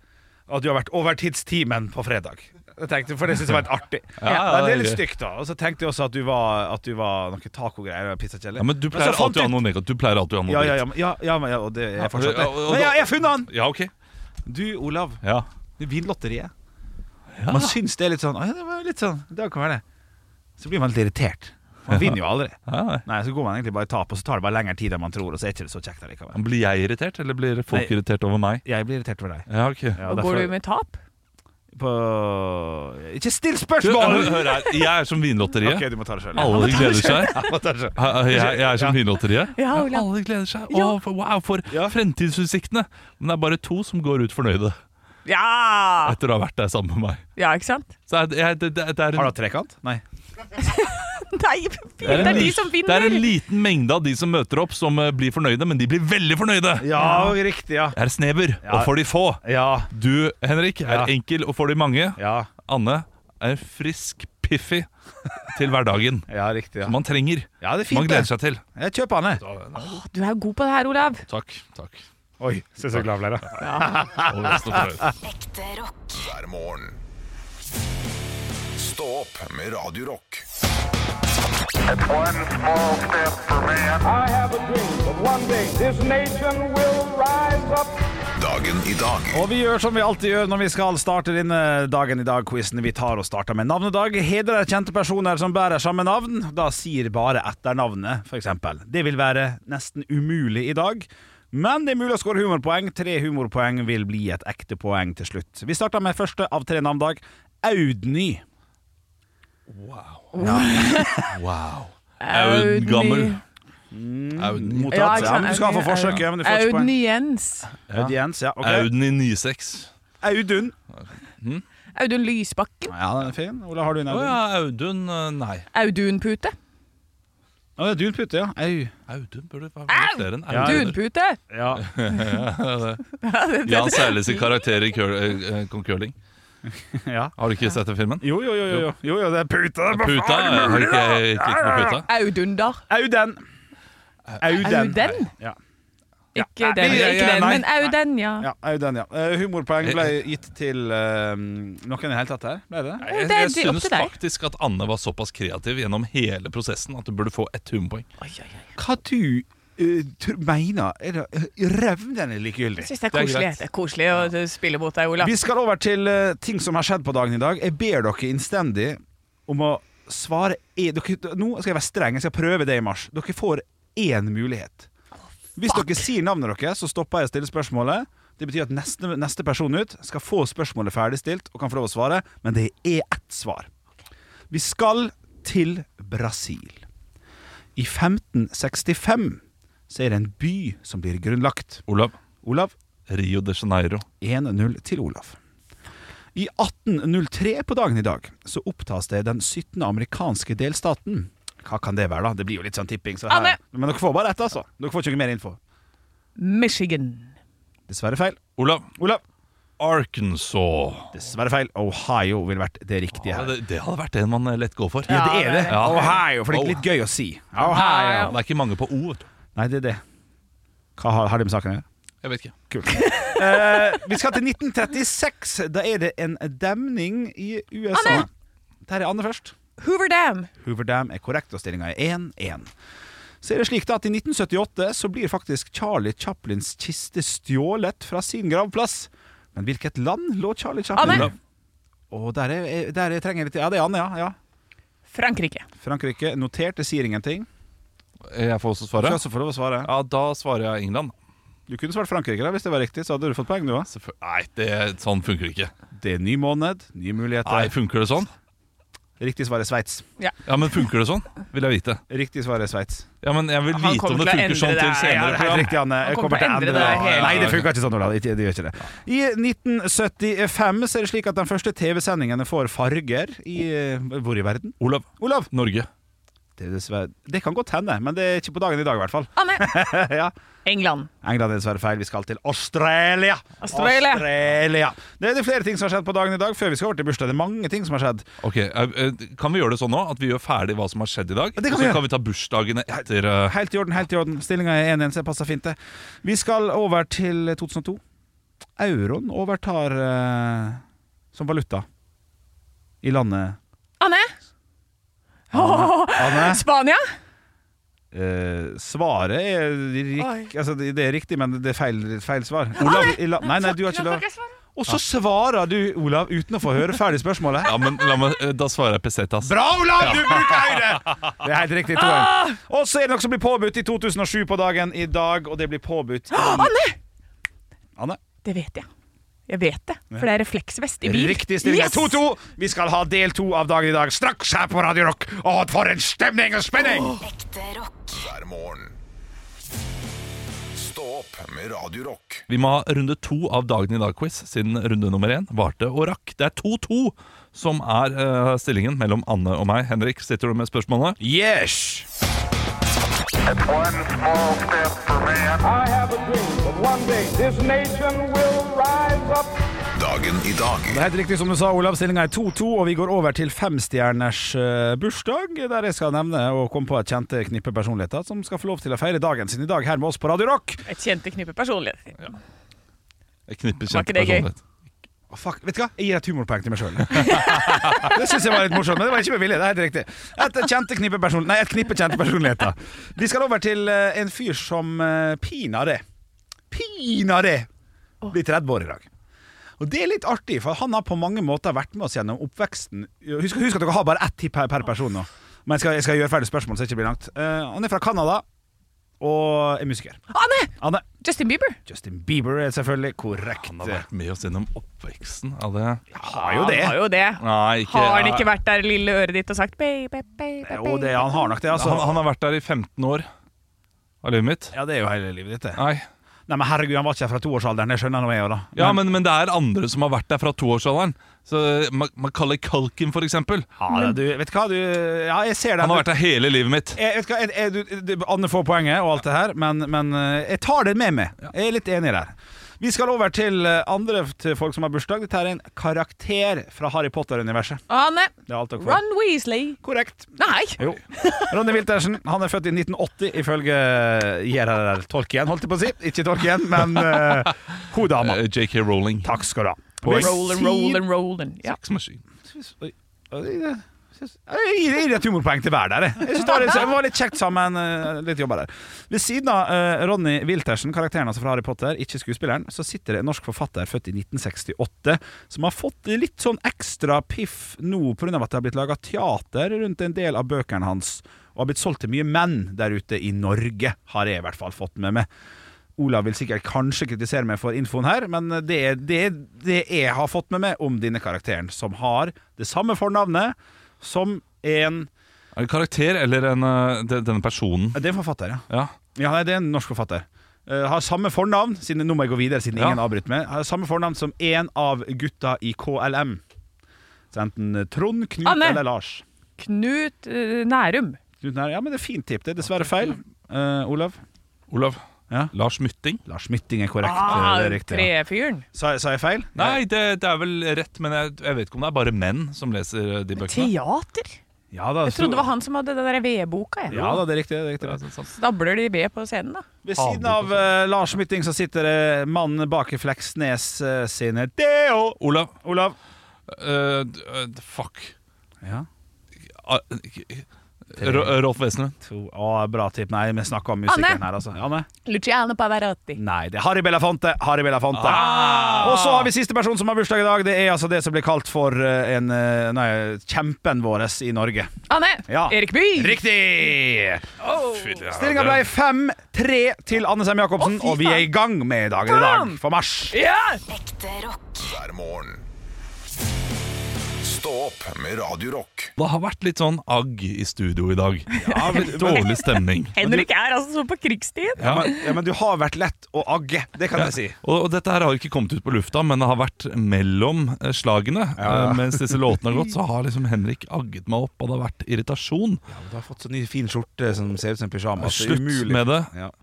Speaker 4: At du har vært overtidstimen på fredag. Jeg tenkte, for det synes jeg var litt artig.
Speaker 2: Ja,
Speaker 4: Men det er litt
Speaker 2: det er
Speaker 4: stygt, da. Og så tenkte jeg også at du var, at du var noe tacogreier og pizzakjeller.
Speaker 2: Ja, men du pleier alltid å ha noe negativt. Du pleier alltid å ha noe
Speaker 4: ja, ja,
Speaker 2: dritt.
Speaker 4: ja, men- ja, ja, men- ja, og det er fortsatt det.
Speaker 2: og- og-
Speaker 4: Men ja, jeg har funnet han!
Speaker 2: Ja, ok.
Speaker 4: Du, Olav.
Speaker 2: Ja.
Speaker 4: Det er Vinlotteriet.
Speaker 2: Ja.
Speaker 4: Man syns det er litt sånn «Å, ja, det var litt sånn Det kan være det. Så blir man litt irritert. Man vinner jo aldri.
Speaker 2: Ja,
Speaker 4: Nei, så går man egentlig bare i tap, og så tar det bare lengre tid enn man tror, og så er ikke det så kjekt allikevel.
Speaker 2: Blir jeg irritert, eller blir folk
Speaker 4: Nei.
Speaker 2: irritert over meg?
Speaker 4: Jeg blir irritert over deg.
Speaker 2: Ja, ok
Speaker 4: Ja,
Speaker 3: Og
Speaker 4: derfor-
Speaker 3: går du med tap?
Speaker 4: på Ikke still
Speaker 2: Du, hør,
Speaker 4: spørsmål!
Speaker 2: hør her. Jeg er som Vinlotteriet.
Speaker 4: Ok, du må ta det sjøl.
Speaker 2: Alle gleder seg.
Speaker 4: Hva
Speaker 2: Ha- ha- Jeg, jeg er som vinlotteriet.
Speaker 3: Ja, Olav.
Speaker 2: alle gleder seg.
Speaker 3: Ja.
Speaker 2: Å, for, wow, for
Speaker 4: Ja.
Speaker 2: fremtidsutsiktene! Men det er bare to som går ut fornøyde
Speaker 3: Ja!
Speaker 2: etter å ha vært der sammen med meg.
Speaker 3: Ja, ikke sant?
Speaker 2: Så er det, jeg, det, det, det, er
Speaker 4: Har du
Speaker 2: en,
Speaker 4: hatt trekant? Nei.
Speaker 3: Nei, det er de som
Speaker 2: det er en
Speaker 3: vinner!
Speaker 2: liten mengde av de som møter opp, som eh, blir fornøyde, men de blir veldig fornøyde!
Speaker 4: Ja, riktig, ja.
Speaker 2: Jeg er snever, og for de få.
Speaker 4: Ja.
Speaker 2: Du, Henrik, er
Speaker 4: Ja.
Speaker 2: enkel, og for de mange.
Speaker 4: Ja,
Speaker 2: Anne er frisk, piffig til hverdagen.
Speaker 4: ja riktig. Ja.
Speaker 2: Som man trenger.
Speaker 4: ja, det er
Speaker 2: Man
Speaker 4: fint,
Speaker 2: gleder
Speaker 4: det.
Speaker 2: seg til.
Speaker 4: Jeg kjøper han, jeg.
Speaker 3: Du er jo god på det her, Olav.
Speaker 2: Takk. takk
Speaker 7: Oi, se så glad jeg ble, da.
Speaker 4: Ah.
Speaker 9: Ekte rock.
Speaker 8: hver morgen. Stå opp med Radio Rock.
Speaker 10: I have a dream that one day this nation will rise up.
Speaker 8: Dagen i dag
Speaker 4: Og vi gjør som vi alltid gjør når vi skal starte denne Dagen i dag-quizen. Vi tar og starter med navnedag. Hedrer kjente personer som bærer samme navn. Da sier bare etternavnet, f.eks. Det vil være nesten umulig i dag. Men det er mulig å skåre humorpoeng. Tre humorpoeng vil bli et ekte poeng til slutt. Vi starter med første av tre navnedag. Audny.
Speaker 2: Wow. Auden gammel. Auden,
Speaker 4: Mottatt.
Speaker 3: Ja,
Speaker 4: Ja,
Speaker 3: ikke sant,
Speaker 4: men du skal få
Speaker 3: Audny,
Speaker 4: forsøket. Men du får ikke
Speaker 3: Audun
Speaker 4: poeng.
Speaker 3: Jens.
Speaker 4: Aud Jens, ja. ok.
Speaker 2: Auden i 96.
Speaker 4: Audun.
Speaker 3: Audun Lysbakken.
Speaker 4: Ja, den er fin. Ola, har du en
Speaker 2: Å
Speaker 4: Audun?
Speaker 2: ja, Audun eh, Nei.
Speaker 3: Audun Pute.
Speaker 4: Å, det er Dunpute, ja. Au.
Speaker 2: Audun burde være flere enn
Speaker 4: Ja.
Speaker 2: Audun. Eh,
Speaker 3: Dunpute!
Speaker 4: Ja.
Speaker 2: Jan Sæles i karakter i curl, eh, eh, Kong Curling.
Speaker 4: Ja.
Speaker 2: Har du ikke sett den filmen?
Speaker 4: Jo, jo, jo, jo, jo. jo, jo det er puta. det er bare
Speaker 2: Puta?
Speaker 4: faen
Speaker 2: eh, Har du
Speaker 4: mulig,
Speaker 2: ikke
Speaker 4: da?
Speaker 2: eh, klikket på puta?
Speaker 3: Audunder.
Speaker 4: Auden.
Speaker 3: Auden?
Speaker 4: Ja.
Speaker 3: Ikke
Speaker 4: Nei,
Speaker 3: den,
Speaker 4: ja,
Speaker 3: ikke
Speaker 4: ja,
Speaker 3: den
Speaker 4: nei.
Speaker 3: men Auden, ja.
Speaker 4: ja, Auden, ja. Eh, humorpoeng ble gitt til eh, noen i det hele tatt her, ble det?
Speaker 2: Jeg,
Speaker 3: det er
Speaker 2: jeg
Speaker 3: opp
Speaker 2: synes
Speaker 3: til deg.
Speaker 2: faktisk at Anne var såpass kreativ gjennom hele prosessen at du burde få ett humorpoeng.
Speaker 4: Hva du eh, tr- mener er det eh, revnende likegyldig?
Speaker 3: Jeg syns det er
Speaker 2: Det er
Speaker 3: koselig.
Speaker 2: greit.
Speaker 3: Det er koselig å spille mot deg, Ola.
Speaker 4: Vi skal over til eh, ting som har skjedd på dagen i dag. Jeg ber dere innstendig om å svare e dere, Nå skal jeg være streng, jeg skal prøve det i mars. Dere får én mulighet. Hvis dere sier navnet deres, så stopper jeg å stille spørsmålet. Det betyr at neste, neste person ut skal få spørsmålet ferdigstilt og kan få lov å svare, men det er ett svar. Vi skal til Brasil. I 1565 så er det en by som blir grunnlagt.
Speaker 2: Olav.
Speaker 4: Olav?
Speaker 2: Rio de Janeiro.
Speaker 4: 1-0 til Olav. I 1803 på dagen i dag så opptas det den 17. amerikanske delstaten. Hva kan det være, da? Det blir jo litt sånn tipping. Så her.
Speaker 3: Anne!
Speaker 4: Men dere får bare ett, altså. Dere får ikke noe mer info.
Speaker 3: Michigan.
Speaker 4: Dessverre feil.
Speaker 2: Olav.
Speaker 4: Olav.
Speaker 2: Arkansas.
Speaker 4: Dessverre feil. Ohio ville vært det riktige
Speaker 2: Ja,
Speaker 4: her.
Speaker 2: det, det hadde vært en man eh, lett går for.
Speaker 4: Ja, det er det.
Speaker 2: Ja.
Speaker 4: Ohio, for det er litt gøy å si. Ohio.
Speaker 2: Det er ikke mange på O. vet du.
Speaker 4: Nei, det er det. Hva har, har det med saken å gjøre?
Speaker 2: Jeg vet ikke.
Speaker 4: Kult. Eh, vi skal til 1936. Da er det en demning i USA.
Speaker 3: Anne!
Speaker 4: Der er Anne først.
Speaker 3: Hoover Dam.
Speaker 4: Hoover Dam er korrekt, og stillinga er 1-1. Så er det slik da at I 1978 så blir faktisk Charlie Chaplins kiste stjålet fra sin gravplass. Men hvilket land lå Charlie
Speaker 3: Anne!
Speaker 4: Chaplin Og der, er, eh, der er, trenger jeg litt Ja, det er Anne, ja. ja.
Speaker 3: Frankrike.
Speaker 4: Frankrike notert, det sier ingenting.
Speaker 2: Jeg får også
Speaker 4: Du
Speaker 2: svare.
Speaker 4: skal også få lov å svare.
Speaker 2: Ja, da svarer jeg England.
Speaker 4: Du kunne svart Frankrike, da, hvis det var riktig. Så hadde du fått poeng, du òg.
Speaker 2: Selvføl- Nei, det, sånn funker det ikke.
Speaker 4: Det er ny måned, nye
Speaker 2: Nei,
Speaker 4: muligheter.
Speaker 2: Funker det sånn?
Speaker 4: Riktig svar er Sveits.
Speaker 2: Ja, men funker det sånn? Vil jeg vite.
Speaker 4: Riktig svar er Sveits.
Speaker 2: Ja, men Jeg vil
Speaker 3: Han
Speaker 2: vite om
Speaker 3: kommer
Speaker 2: det
Speaker 3: til å
Speaker 2: funker sånn til
Speaker 3: endre det.
Speaker 4: Ja,
Speaker 2: senere
Speaker 4: det er helt
Speaker 2: program.
Speaker 4: riktig, Anne. Jeg
Speaker 3: Han kommer til å endre det hele
Speaker 4: Nei, det
Speaker 2: tiden.
Speaker 4: funka ikke sånn, Olav. Det, det gjør ikke det. I 1975 så er det slik at den første TV-sendingene får farger i eh, Hvor i verden?
Speaker 2: Olav.
Speaker 4: Olav?
Speaker 2: Norge.
Speaker 4: Det, er dessverre, det kan godt hende, men det er ikke på dagen i dag, i hvert fall.
Speaker 3: Anne.
Speaker 4: ja.
Speaker 3: England.
Speaker 4: England er dessverre feil. Vi skal til Australia.
Speaker 3: Australia.
Speaker 4: Australia. Det er det flere ting som har skjedd på dagen i dag, før vi skal over til bursdag. Det er mange ting som har skjedd.
Speaker 2: Ok, eh, eh, Kan vi gjøre det sånn nå at vi gjør ferdig hva som har skjedd i dag?
Speaker 4: Ja, det kan
Speaker 2: og
Speaker 4: vi
Speaker 2: så
Speaker 4: gjøre.
Speaker 2: kan vi ta bursdagene etter eh,
Speaker 4: Helt i orden, helt i orden. Stillinga er 1-1, så det passer fint, det. Vi skal over til 2002. Euroen overtar eh, som valuta i landet
Speaker 3: Anne.
Speaker 4: Anne?
Speaker 3: Spania.
Speaker 4: Eh, svaret er rik,
Speaker 3: Oi.
Speaker 4: altså, det det er riktig, men det er feil, feil svar. Olav, i la, nei, nei, du har ikke lov. Og så svarer du, Olav, uten å få høre ferdig spørsmålet.
Speaker 2: Ja, men la meg, eh, Da svarer jeg pesetas.
Speaker 4: Bra, Olav! Du bruker høyre! Det er helt riktig. to ganger. Og så er det noe som blir påbudt i 2007 på dagen i dag, og det blir påbudt i
Speaker 3: Anne!
Speaker 4: Anne?
Speaker 3: Det vet jeg. Jeg vet det, for det er refleksvest i bil.
Speaker 4: Riktig stilling er
Speaker 3: Yes!
Speaker 4: 2-2. Vi skal ha del to av dagen i dag straks her på Radio Rock. Og for en stemning og spenning!
Speaker 9: Ekte rock.
Speaker 8: hver morgen. Stå opp med Radio Rock
Speaker 2: Vi må ha runde to av Dagen i dag-quiz, siden runde nummer én varte og rakk. Det er 2-2 som er eh, stillingen mellom Anne og meg. Henrik, sitter du med spørsmålene?
Speaker 4: Yes!
Speaker 10: I have a dream that one day this nation will rise up.
Speaker 8: Dagen i
Speaker 4: Det
Speaker 8: dag.
Speaker 4: er helt riktig som du sa, Olav. Stillinga er 2-2, og vi går over til femstjerners eh, bursdag, der jeg skal nevne og komme på et kjente knippe personligheter som skal få lov til å feire dagen sin i dag her med oss på Radio Rock.
Speaker 3: Et kjente knippe personligheter.
Speaker 2: Jeg knipper
Speaker 3: Var ikke det gøy?
Speaker 2: kjempepersonlighet.
Speaker 4: Å, fuck, vet du hva? Jeg gir et humorpoeng til meg sjøl. det syns jeg var litt morsomt, men det var ikke med vilje. Det er helt riktig. Et kjente knippe person... Nei, et knippe kjente personligheter. Vi skal over til eh, en fyr som eh, pinadø Pinadø blir 30 år i dag. Og det er litt artig, for han har på mange måter vært med oss gjennom oppveksten. Husk, husk at dere har bare ett tipp per, per person nå. Men jeg skal, jeg skal gjøre ferdig spørsmål, så det ikke blir langt. Eh, han er fra Canada og er musiker.
Speaker 3: Anne!
Speaker 4: Anne
Speaker 3: Justin Bieber.
Speaker 4: Justin Bieber er selvfølgelig korrekt.
Speaker 2: Han har vært med oss gjennom oppveksten av det.
Speaker 4: har jo det.
Speaker 3: Han har jo det.
Speaker 2: Nei, ikke,
Speaker 3: Har han ikke vært der lille øret ditt og sagt baby, baby, baby?
Speaker 4: Jo, det, han har nok det, altså.
Speaker 2: han, han har vært der i 15 år av livet mitt.
Speaker 4: Ja, det er jo hele livet ditt, det.
Speaker 2: Nei.
Speaker 4: Nei, men herregud, han var ikke her fra toårsalderen. Det skjønner nå jeg òg, da.
Speaker 2: Ja, men, men det er andre som har vært der fra toårsalderen. Så eh, Ma- Macaulay Culkin, for eksempel.
Speaker 4: ja, du, vet du hva, du Ja, jeg ser den.
Speaker 2: Han har vært der hele livet mitt.
Speaker 4: jeg, vet du hva, jeg, jeg, du, du- Anne får poenget og alt det her, men, men eh, jeg tar det med meg. Jeg er litt enig der. Vi skal over til eh, andre f- til folk som har bursdag. Dette er en karakter fra Harry Potter-universet.
Speaker 3: Anne.
Speaker 4: Det er alt dere får.
Speaker 3: Ron Weasley.
Speaker 4: Korrekt.
Speaker 3: Nei.
Speaker 4: Jo. Ronny Wiltersen han er født i 1980, ifølge JRR Tolkien, holdt jeg på å si. Ikke Tolkien, men uh, hun dama.
Speaker 2: Eh, JK Rowling.
Speaker 4: Takk skal du ha.
Speaker 3: Rollen, rollen, rollen. Ja.
Speaker 2: Takk.
Speaker 4: Oi. Oi, det- Jeg gir- jeg gir et humorpoeng til hver der. jeg. Jeg synes det var litt, det var litt kjekt sammen. eh, Litt jobba der Ved siden av eh, Ronny Wiltersen, karakteren altså fra Harry Potter, ikke skuespilleren, så sitter det en norsk forfatter født i 1968 som har fått litt sånn ekstra piff nå pga. at det har blitt laga teater rundt en del av bøkene hans, og har blitt solgt til mye menn der ute i Norge, har jeg i hvert fall fått med meg. Olav vil sikkert kanskje kritisere meg for infoen her, men det er det, det jeg har fått med meg om denne karakteren, som har det samme fornavnet som en
Speaker 2: Er det karakter eller en, eh, de- denne personen?
Speaker 4: Det er en forfatter, ja.
Speaker 2: Ja.
Speaker 4: ja nei, det er en norsk forfatter. Eh, har samme fornavn, siden nå må jeg gå videre, siden
Speaker 2: Ja.
Speaker 4: ingen avbryter meg. Har samme fornavn som én av gutta i KLM. Så enten eh, Trond, Knut
Speaker 3: Anne.
Speaker 4: eller Lars.
Speaker 3: Knut eh, Nærum.
Speaker 4: Knut Nær, ja, men det er fint tipp. Det er dessverre feil. Eh, Olav?
Speaker 2: Olav.
Speaker 4: Ja.
Speaker 2: Lars Mytting.
Speaker 4: Lars Mytting er korrekt. eh,
Speaker 3: Ah,
Speaker 4: det er riktig, ja.
Speaker 3: Trefyren.
Speaker 4: sa, sa jeg feil?
Speaker 2: Nei, det, det er vel rett, men jeg, jeg vet ikke om det er bare menn som leser eh, de bøkene.
Speaker 3: Teater?
Speaker 4: Ja, da,
Speaker 3: Jeg trodde det var han som hadde den der vedboka. jeg.
Speaker 4: Ja da, det er riktig. Det er riktig.
Speaker 2: Ja, sånn, det er sant.
Speaker 3: Stabler de ved på scenen, da?
Speaker 4: Ved siden av eh, Lars Mytting så sitter det mannen bak i Fleksnes eh, sine Deo!
Speaker 2: Olav.
Speaker 4: Olav.
Speaker 2: eh, d- eh, fuck.
Speaker 4: Ja.
Speaker 2: Ah, Ro- Rolf Wesenlund.
Speaker 4: To. Å, bra tipp. Nei, vi snakker om musikeren
Speaker 3: Anne.
Speaker 4: her, altså. Anne?
Speaker 3: Luciano Pavarotti.
Speaker 4: Nei, det er Harry Belafonte. Harry Belafonte. Og så har vi siste person som har bursdag i dag. Det er altså det som blir kalt for eh, en eh, Nei, kjempen vår i Norge.
Speaker 3: Anne!
Speaker 4: Ja.
Speaker 3: Erik Bye!
Speaker 4: Riktig!
Speaker 2: Fy, det er-
Speaker 4: Stillinga ble 5-3 til Anne Sem Jacobsen, og vi er i gang med dagen i dag for mars.
Speaker 7: Ekte rock.
Speaker 8: hver morgen. Stå opp med Radio Rock.
Speaker 2: Det har vært litt sånn agg i studio i dag. Ja, litt Dårlig stemning.
Speaker 3: Henrik er altså så på krigsstien.
Speaker 4: Ja, men, ja, men du har vært lett å agge. Det kan jeg si.
Speaker 2: Og, og dette her har ikke kommet ut på lufta, men det har vært mellom eh, slagene. Eh, Mens disse låtene har gått, så har liksom Henrik agget meg opp, og det har vært irritasjon.
Speaker 4: Du har fått sånn ny fin skjorte som ser ut som en pyjamas.
Speaker 2: Slutt med det.
Speaker 4: Ja.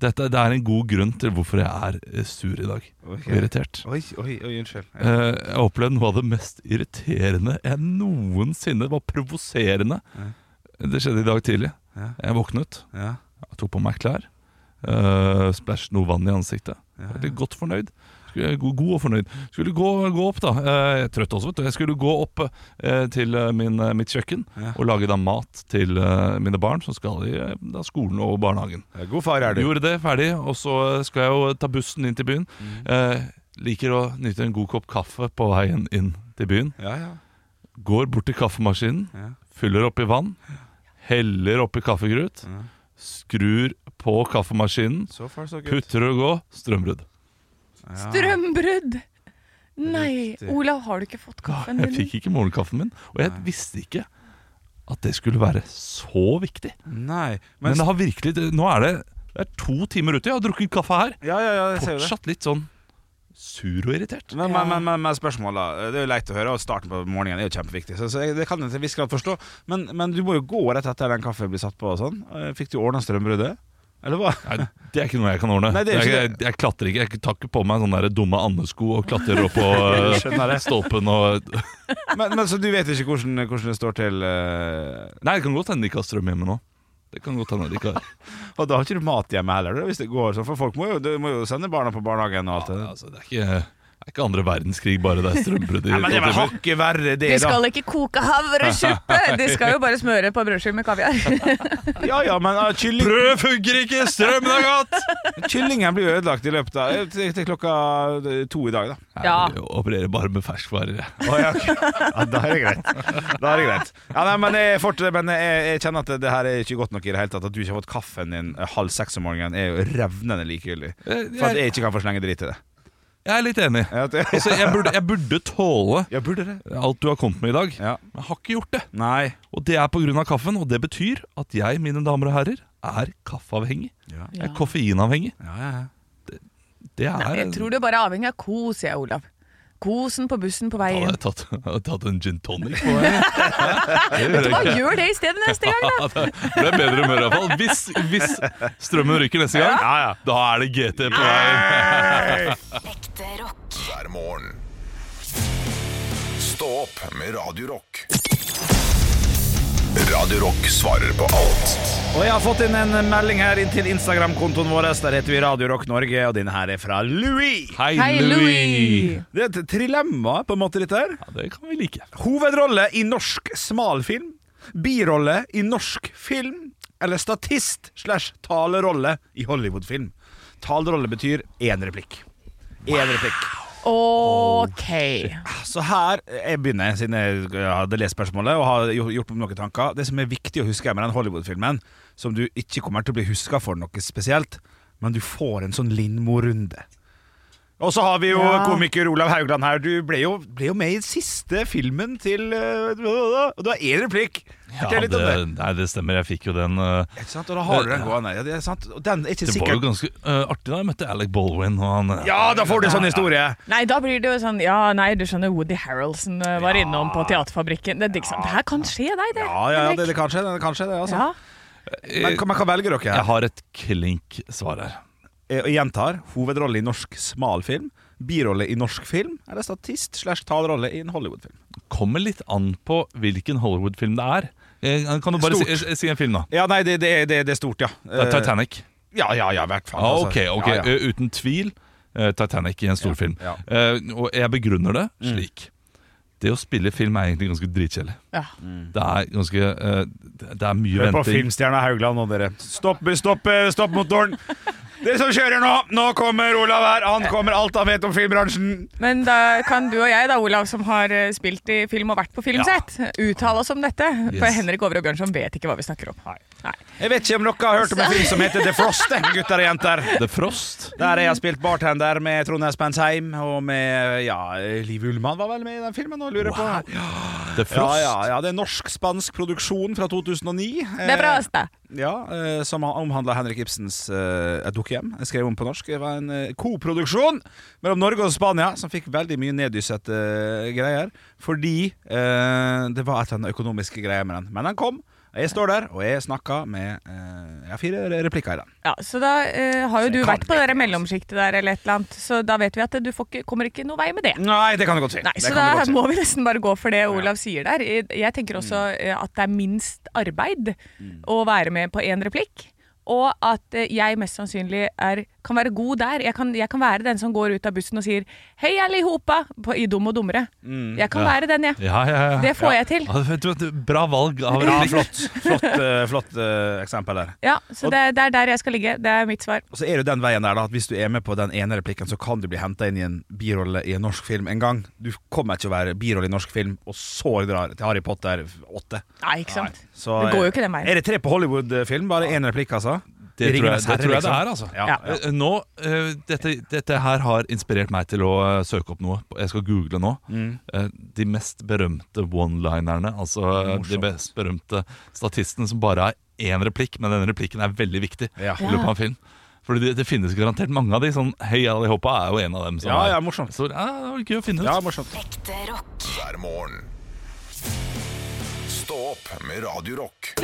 Speaker 2: Dette, det er en god grunn til hvorfor jeg er eh, sur i dag.
Speaker 4: Ok.
Speaker 2: Og irritert.
Speaker 4: Oi, oi, oi, unnskyld.
Speaker 2: Eh, Jeg opplevde noe av det mest irriterende jeg noensinne var provoserende. Det skjedde i dag tidlig.
Speaker 4: Ja.
Speaker 2: Jeg våknet,
Speaker 4: Ja.
Speaker 2: jeg tok på meg klær, uh, splæsj noe vann i ansiktet. Jeg var Litt godt fornøyd. Skulle, god, god og fornøyd. Skulle gå, gå opp, da. Eh, jeg er trøtt også, vet du. Jeg skulle gå opp eh, til eh, min, eh, mitt kjøkken
Speaker 4: Ja.
Speaker 2: og lage da mat til eh, mine barn, som skal i eh, da, skolen og barnehagen.
Speaker 4: God far er du.
Speaker 2: Gjorde det, ferdig, og så skal jeg jo ta bussen inn til byen.
Speaker 4: Mm.
Speaker 2: Eh, liker å nyte en god kopp kaffe på veien inn til byen.
Speaker 4: Ja, ja.
Speaker 2: Går bort til kaffemaskinen,
Speaker 4: Ja.
Speaker 2: fyller oppi vann, heller oppi kaffegrut, skrur på kaffemaskinen,
Speaker 4: So far, so good.
Speaker 2: putter og går, strømbrudd.
Speaker 3: Strømbrudd! Nei, Olav, har du ikke fått kaffen
Speaker 2: Jeg
Speaker 3: din?
Speaker 2: fikk ikke morgenkaffen min, og jeg visste ikke at det skulle være så viktig.
Speaker 4: Nei,
Speaker 2: Men det har virkelig Nå er det, det er to timer ute, jeg har drukket kaffe her.
Speaker 4: Ja, ja, ja, jeg ser jo det.
Speaker 2: Fortsatt litt sånn sur og irritert.
Speaker 4: Men, men, men, men, men spørsmål, da. Det er jo leit å høre, og starten på morgenen er jo kjempeviktig. Så, så jeg, det kan jeg til en viss grad forstå. Men, men du må jo gå rett etter den kaffen blir satt på og sånn. Eh, Fikk du ordna strømbruddet? Eller hva?
Speaker 2: Nei, det er ikke noe jeg kan ordne.
Speaker 4: Nei, det er ikke
Speaker 2: jeg, jeg, jeg klatrer ikke. Jeg tar ikke på meg sånne der dumme andesko og klatrer opp på eh, stolpen og
Speaker 4: Men, men så du vet ikke hvordan, hvordan det står til eh,
Speaker 2: Nei, det kan godt hende de ikke har strøm hjemme nå. Det kan godt hende de ikke har.
Speaker 4: Og da har ikke du mat hjemme heller, da, hvis det går sånn. For folk må jo, du må jo sende barna på barnehagen og alt det
Speaker 2: Ja, altså, det, er ikke, det er ikke andre verdenskrig, bare det er strømbrudd i
Speaker 4: Nei, men det var
Speaker 2: to timer.
Speaker 4: hakket verre, det,
Speaker 3: De
Speaker 4: da.
Speaker 3: skal ikke koke havresuppe! De skal jo bare smøre på brødskive med kaviar.
Speaker 4: Ja, ja, men ah, kylling,
Speaker 2: Brød funker ikke! Strømmen er gått!
Speaker 4: kyllingen blir jo ødelagt i løpet av til, til klokka eh, to i dag, da.
Speaker 3: Ja.
Speaker 2: Jeg opererer bare med ferskvarer. jeg.
Speaker 4: Å, ja, ok. ja, da er det greit. Da er det greit. Ja, nei, men jeg, fort, men jeg, jeg kjenner at det her er ikke godt nok i det hele tatt. At du ikke har fått kaffen din eh, halv seks om morgenen, er jo revnende likegyldig. For at
Speaker 2: Jeg,
Speaker 4: jeg ikke kan få slenge dritt i det.
Speaker 2: jeg er litt enig.
Speaker 4: Ja, det-
Speaker 2: Altså, jeg, burde, jeg burde tåle
Speaker 4: Ja, burde det?
Speaker 2: alt du har kommet med i dag,
Speaker 4: Ja.
Speaker 2: men jeg har ikke gjort det.
Speaker 4: Nei.
Speaker 2: Og det er pga. kaffen, og det betyr at jeg, mine damer og herrer, er kaffeavhengig.
Speaker 4: Ja.
Speaker 2: Jeg er koffeinavhengig.
Speaker 4: Ja, ja, ja.
Speaker 2: Det er
Speaker 3: Nei, jeg tror du bare er avhengig av kos, jeg, Olav. Kosen på bussen på vei
Speaker 2: Hadde
Speaker 3: inn.
Speaker 2: jeg tatt, hadde jeg tatt en gin tonic på meg. Det gjør jeg
Speaker 3: Hva
Speaker 2: ikke.
Speaker 3: gjør det i stedet neste gang, da?
Speaker 2: Ja, det ble bedre humør, iallfall. Hvis, hvis strømmen ryker neste gang, da er det GT på
Speaker 3: Ah,
Speaker 2: vei.
Speaker 7: Ekte rock.
Speaker 8: hver morgen. Stå opp med Radio Rock. Radio Rock svarer på alt
Speaker 4: Og jeg har fått inn en melding her inn til Instagram-kontoen vår. Der heter vi Radio Rock Norge, og denne her er fra Louis.
Speaker 2: Hei,
Speaker 3: Hei, Louis!
Speaker 4: Det er et trilemma, på en måte, dette her.
Speaker 2: Ja, det kan vi like.
Speaker 4: Hovedrolle i norsk smalfilm. Birolle i norsk film. Eller statist slash talerolle i Hollywood-film. Talerolle betyr én replikk. Én replikk.
Speaker 3: OK.
Speaker 4: Så her jeg begynner siden jeg hadde lest spørsmålet og har gjo- gjort meg noen tanker. Det som er viktig å huske med den Hollywood-filmen, som du ikke kommer til å bli huska for noe spesielt, men du får en sånn Lindmo-runde. Og så har vi jo
Speaker 3: Ja.
Speaker 4: komiker Olav Haugland her. Du ble jo, ble jo med i siste filmen til øh, Og du har én replikk!
Speaker 2: Ja,
Speaker 4: Fortell
Speaker 2: det,
Speaker 4: litt om det.
Speaker 2: nei, det stemmer. Jeg fikk jo den. eh,
Speaker 4: Ikke sant? Og da har du den gående. Ja, det er sant. Og den er ikke
Speaker 2: Det var jo
Speaker 4: sikker.
Speaker 2: ganske eh, artig da jeg møtte Alec Baldwin. Og han, eh,
Speaker 4: Ja, da får du en sånn historie!
Speaker 3: Nei, da blir det jo sånn Ja, nei, du skjønner, Woody Harroldson eh, var innom på Teaterfabrikken. Det, er ikke sant. det her kan skje deg, det.
Speaker 4: Ja, ja, ja, det,
Speaker 3: Henrik.
Speaker 4: det kan skje, det. kan skje, det altså.
Speaker 3: Ja.
Speaker 4: Men hva- hva velger dere? her?
Speaker 2: Jeg har et klink svar her.
Speaker 4: Eh, Jeg gjentar hovedrolle i norsk smalfilm, birolle i norsk film eller statist slash talerolle i en Hollywood-film.
Speaker 2: Kommer litt an på hvilken Hollywood-film det er. Eh, Kan du bare si,
Speaker 4: Stort.
Speaker 2: eh, si en film, da?
Speaker 4: Ja, nei, det, det, er- det, det er stort, ja.
Speaker 2: Det er
Speaker 4: Eh,
Speaker 2: Titanic.
Speaker 4: Ja, ja, ja, i hvert fall.
Speaker 2: Ja,
Speaker 4: altså.
Speaker 2: ok, ok,
Speaker 4: Ja, ja.
Speaker 2: Eh, Uten tvil eh, Titanic i en storfilm.
Speaker 4: ja. Mm.
Speaker 2: Eh, og jeg begrunner det slik. Det å spille film er egentlig ganske dritkjedelig.
Speaker 3: Ja.
Speaker 2: Det er ganske eh, det- Det er mye
Speaker 4: Mm. Hør på
Speaker 2: venting.
Speaker 4: Filmstjerna Haugland nå, dere. Stopp, stopp, eh, stopp motoren! Dere som kjører nå! Nå kommer Olav her! Han kommer alt han vet om filmbransjen!
Speaker 3: Men da kan du og jeg, da, Olav, som har eh, spilt i film og vært på filmsett, uttale oss om dette. For
Speaker 2: Yes.
Speaker 3: Henrik Over og Bjørnson vet ikke hva vi snakker om. Nei.
Speaker 4: Jeg vet ikke om dere har hørt om en film som heter The Frost, eh, gutter og jenter.
Speaker 2: The Frost.
Speaker 4: Der har jeg spilt bartender med Trond Espen Seim og med ja, Liv Ullmann var vel med i den filmen nå, lurer jeg på.
Speaker 2: The
Speaker 4: Ja,
Speaker 2: Frost.
Speaker 4: ja, ja, det er norsk-spansk produksjon fra 2009. eh,
Speaker 3: Det er bra, Asta.
Speaker 4: Ja, eh, Som omhandla Henrik Ibsens eh, Et dukkehjem. Jeg skrev om på norsk. Det var en eh, koproduksjon mellom Norge og Spania, som fikk veldig mye neddyssete eh, greier. Fordi eh, det var et eller annet økonomiske greier med den. Men den kom. og Jeg står der, og jeg snakka med eh, Jeg har fire replikker i den.
Speaker 3: Ja, så da eh, har jo
Speaker 4: Så
Speaker 3: du
Speaker 4: jeg kan
Speaker 3: vært på
Speaker 4: ikke,
Speaker 3: det der
Speaker 4: altså.
Speaker 3: mellomsjiktet der, eller et eller annet, så da vet vi at du får ikke, kommer ikke noe vei med det.
Speaker 4: Nei, det kan du godt si.
Speaker 3: Nei,
Speaker 4: Det
Speaker 3: Så
Speaker 4: kan
Speaker 3: da
Speaker 4: du godt si.
Speaker 3: må vi nesten bare gå for det Olav sier der. Jeg tenker også
Speaker 4: Mm.
Speaker 3: eh, at det er minst arbeid å være med på én replikk. Og at eh, jeg mest sannsynlig er, kan være god der. Jeg kan, jeg kan være den som går ut av bussen og sier 'hei, alle i hopa' på, i Dum og dummere.
Speaker 4: Mm.
Speaker 3: Jeg kan være den, jeg.
Speaker 2: Ja, ja, ja.
Speaker 3: Det får jeg til.
Speaker 2: Ja, vet du hva, Bra valg av
Speaker 4: Ja,
Speaker 2: replikk.
Speaker 4: flott. Flott, eh, flott eh, eksempel der.
Speaker 3: Ja, Så
Speaker 4: Og-
Speaker 3: det, det er der jeg skal ligge. Det er mitt svar.
Speaker 4: Og så er det jo den veien der da At hvis du er med på den ene replikken Så kan du bli hentet inn i en birolle i en norsk film en gang Du kommer ikke å være birolle i en norsk film Og så drar til Harry Potter 8
Speaker 3: Nei, ikke sant?
Speaker 4: så, eh,
Speaker 3: Det går jo ikke den veien.
Speaker 4: Er det tre på Hollywood-film? Bare en replikk altså?
Speaker 2: Det tror jeg
Speaker 4: Ringenes
Speaker 2: det,
Speaker 4: herre,
Speaker 2: tror jeg det
Speaker 4: liksom.
Speaker 2: er, altså.
Speaker 4: Ja,
Speaker 3: Ja.
Speaker 4: ja.
Speaker 2: Eh, Nå, eh, dette, dette her har inspirert meg til å eh, søke opp noe. Jeg skal google nå.
Speaker 4: Mm.
Speaker 2: Eh, de mest berømte one-linerne. Altså eh, de mest berømte statistene som bare har én replikk, men denne replikken er veldig viktig.
Speaker 4: Ja.
Speaker 2: i løpet av en film Fordi det, det finnes garantert mange av de. Sånn Hei, Alihopa er jo en av dem. Som
Speaker 4: Ja,
Speaker 2: er-
Speaker 4: ja, morsomt.
Speaker 2: Så, ja, det var gøy å finne ut.
Speaker 4: Ja, morsomt
Speaker 7: Ekte rock.
Speaker 8: hver morgen. Stå opp med Radio Rock.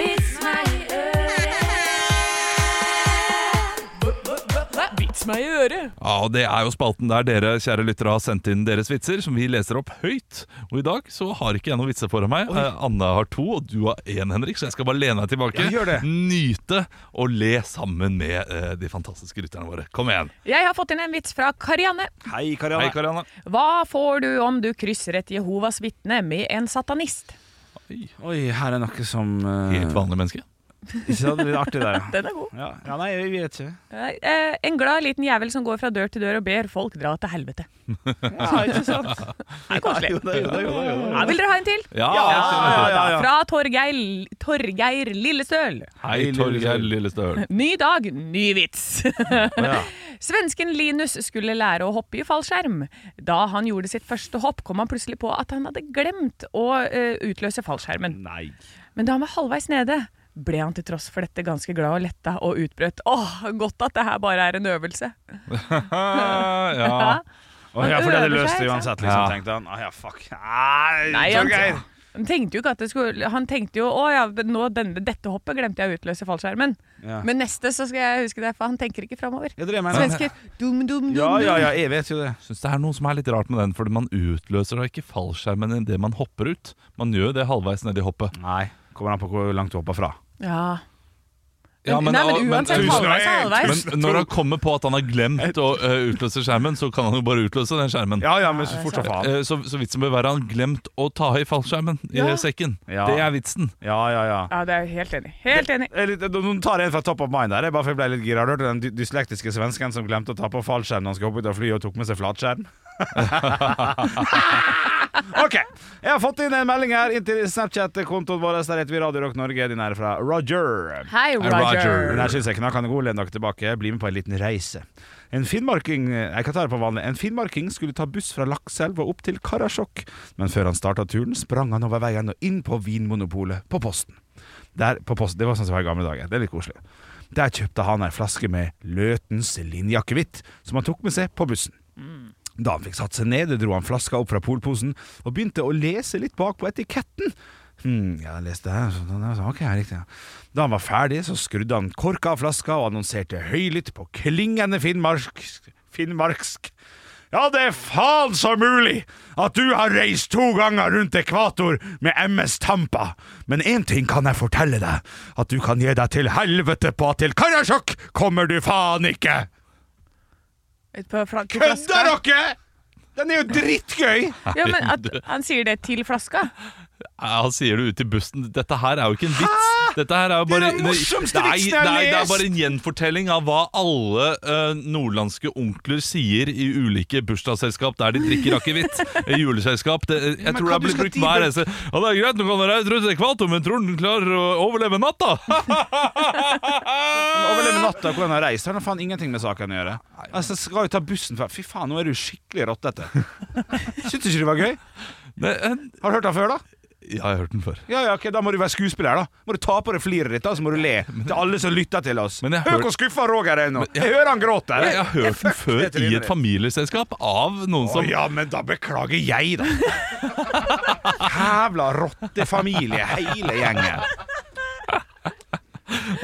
Speaker 3: meg i øret.
Speaker 2: Ja, og Det er jo spalten der dere kjære lyttere har sendt inn deres vitser, som vi leser opp høyt. Og I dag så har ikke jeg noen vitser foran meg. Eh, Anne har to, og du har én, Henrik. Så jeg skal bare lene meg tilbake,
Speaker 4: Ja, gjør det.
Speaker 2: nyte og le sammen med eh, de fantastiske lytterne våre. Kom igjen.
Speaker 3: Jeg har fått inn en vits fra Karianne.
Speaker 4: Hei, Karianne.
Speaker 2: Hei, Karianne.
Speaker 3: Hva får du om du krysser et Jehovas vitne med en satanist?
Speaker 4: Oi, her er noe som eh,
Speaker 2: Helt vanlig menneske.
Speaker 4: Ikke sant? Det er artig der, ja.
Speaker 3: Den er god.
Speaker 4: ja. Ja, nei, vi vet ikke.
Speaker 3: Nei, eh, En glad liten jævel som går fra dør til dør og ber folk dra til helvete. Ja, ikke sant? Det er koselig. Ja, vil dere ha en til?
Speaker 2: Ja,
Speaker 3: Ja,
Speaker 4: ja, ja.
Speaker 3: Fra Torgeir, Torgeir Lillestøl.
Speaker 2: Hei, Torgeir Lillestøl.
Speaker 3: Ny dag, ny vits. Svensken Linus skulle lære å hoppe i fallskjerm. Da han gjorde sitt første hopp, kom han plutselig på at han hadde glemt å eh, utløse fallskjermen.
Speaker 4: Nei.
Speaker 3: Men da han var halvveis nede, ble han til tross for dette ganske glad og letta og utbrøt Åh, godt at det her bare er en øvelse.
Speaker 2: ja.
Speaker 4: Å, ja, for det hadde
Speaker 3: øver
Speaker 4: løst
Speaker 3: seg,
Speaker 4: det
Speaker 3: ikke
Speaker 4: uansett, liksom,
Speaker 2: Ja.
Speaker 4: tenkte han. Å ja, fuck. Nei,
Speaker 3: Nei, han,
Speaker 4: Torgeir.
Speaker 3: han tenkte jo ikke at det skulle Han tenkte jo å ja, nå, denne, dette hoppet glemte jeg å utløse fallskjermen.
Speaker 4: Ja.
Speaker 3: Men neste så skal jeg huske det, for han tenker ikke framover.
Speaker 4: Ja, det er det jeg mener.
Speaker 3: Svensker. Dum, dum, dum.
Speaker 4: Ja, ja,
Speaker 3: dum.
Speaker 4: ja, jeg vet jo det.
Speaker 2: Synes det er noe som er litt rart med den, fordi man utløser da ikke fallskjermen i det man hopper ut. Man gjør jo det halvveis nedi hoppet.
Speaker 4: Nei, kommer an på hvor langt du hopper fra.
Speaker 3: Ja.
Speaker 2: Ja,
Speaker 3: men, nei, men uansett,
Speaker 2: men-
Speaker 3: halvveis er halvveis.
Speaker 2: Men når han kommer på at han har glemt å eh, utløse skjermen, så kan han jo bare utløse den skjermen.
Speaker 4: Ja, ja, men så fort som faen.
Speaker 2: Eh, så, så vitsen bør være han glemt å ta i fallskjermen i
Speaker 3: Ja.
Speaker 2: sekken.
Speaker 4: Ja.
Speaker 2: Det er vitsen.
Speaker 4: Ja, ja, ja.
Speaker 3: Ja, det er jeg helt enig. Helt enig.
Speaker 4: Eh, litt- Nå tar jeg en fra top of mind her, jeg bare for jeg ble litt gira. Hørte du den dy- dyslektiske svensken som glemte å ta på fallskjerm når han skulle hoppe ut av flyet og tok med seg flatskjerm? OK. Jeg har fått inn en melding her inn til Snapchat-kontoen vår. Der heter vi Radio Rock Norge. Din er fra Roger.
Speaker 3: Hei, Roger.
Speaker 4: Den her synes jeg knakende god. Len dere tilbake. Bli med på en liten reise. En finnmarking Jeg kan ta det på vanlig. En finnmarking skulle ta buss fra Lakselv og opp til Karasjok, men før han starta turen, sprang han over veien og inn på Vinmonopolet på Posten. Der, på posten. Det var sånn som var i gamle dager. Det er litt koselig. Der kjøpte han ei flaske med Løtens linjeakevitt, som han tok med seg på bussen. Da han fikk satt seg ned, dro han flaska opp fra polposen og begynte å lese litt bak på etiketten. Hm, ja, jeg leste her, så den er sånn, ok, riktig, ja. Da han var ferdig, så skrudde han korka av flaska og annonserte høylytt på klingende finnmark, finnmarksk. Ja, det er faen så mulig at du har reist to ganger rundt ekvator med MS Tampa, men én ting kan jeg fortelle deg, at du kan gi deg til helvete på at til Karasjok kommer du faen ikke!
Speaker 3: Ut på fla- til flaska.
Speaker 4: Kødder dere?! Den er jo drittgøy!
Speaker 3: Ja, men at han sier det til flaska?
Speaker 2: Ja, Han sier det ut i bussen. Dette her er jo ikke en vits. Dette her er jo
Speaker 4: Det er
Speaker 2: bare
Speaker 4: den
Speaker 2: det
Speaker 4: morsomste
Speaker 2: er-
Speaker 4: vitsen jeg har
Speaker 2: det er- Det er
Speaker 4: lest!
Speaker 2: bare en gjenfortelling av hva alle eh, nordlandske onkler sier i ulike bursdagsselskap der de drikker akevitt. I juleselskap. Det, eh, jeg tror det
Speaker 4: hva
Speaker 2: har
Speaker 4: du
Speaker 2: blitt
Speaker 4: skal
Speaker 2: brukt
Speaker 4: dit
Speaker 2: hver
Speaker 4: med-
Speaker 2: eneste Ja, det er greit, nå kan dere reise rundt ekvator, men tror du den klarer å overleve natta?
Speaker 4: Overleve natta hvordan han reiser, han har faen ingenting med saken å gjøre. Altså, skal jo ta bussen fra Fy faen, nå er du skikkelig rottete. Syns du ikke det var gøy?
Speaker 2: Nei, eh,
Speaker 4: Har du hørt den før, da?
Speaker 2: ja, jeg har hørt den før.
Speaker 4: Ja, ja, ok, Da må du være skuespiller, da. Må du ta på deg fliret ditt, da, så må du le til alle som lytter til oss.
Speaker 2: Men jeg
Speaker 4: Hør
Speaker 2: hør-
Speaker 4: hvor skuffa Roger er nå! Jeg hører han gråter.
Speaker 2: Jeg, jeg har hørt den før
Speaker 4: det
Speaker 2: i
Speaker 4: trynet
Speaker 2: et
Speaker 4: ditt.
Speaker 2: familieselskap av noen
Speaker 4: Å
Speaker 2: som
Speaker 4: ja, men da beklager jeg, da. Jævla rottefamilie, hele gjengen.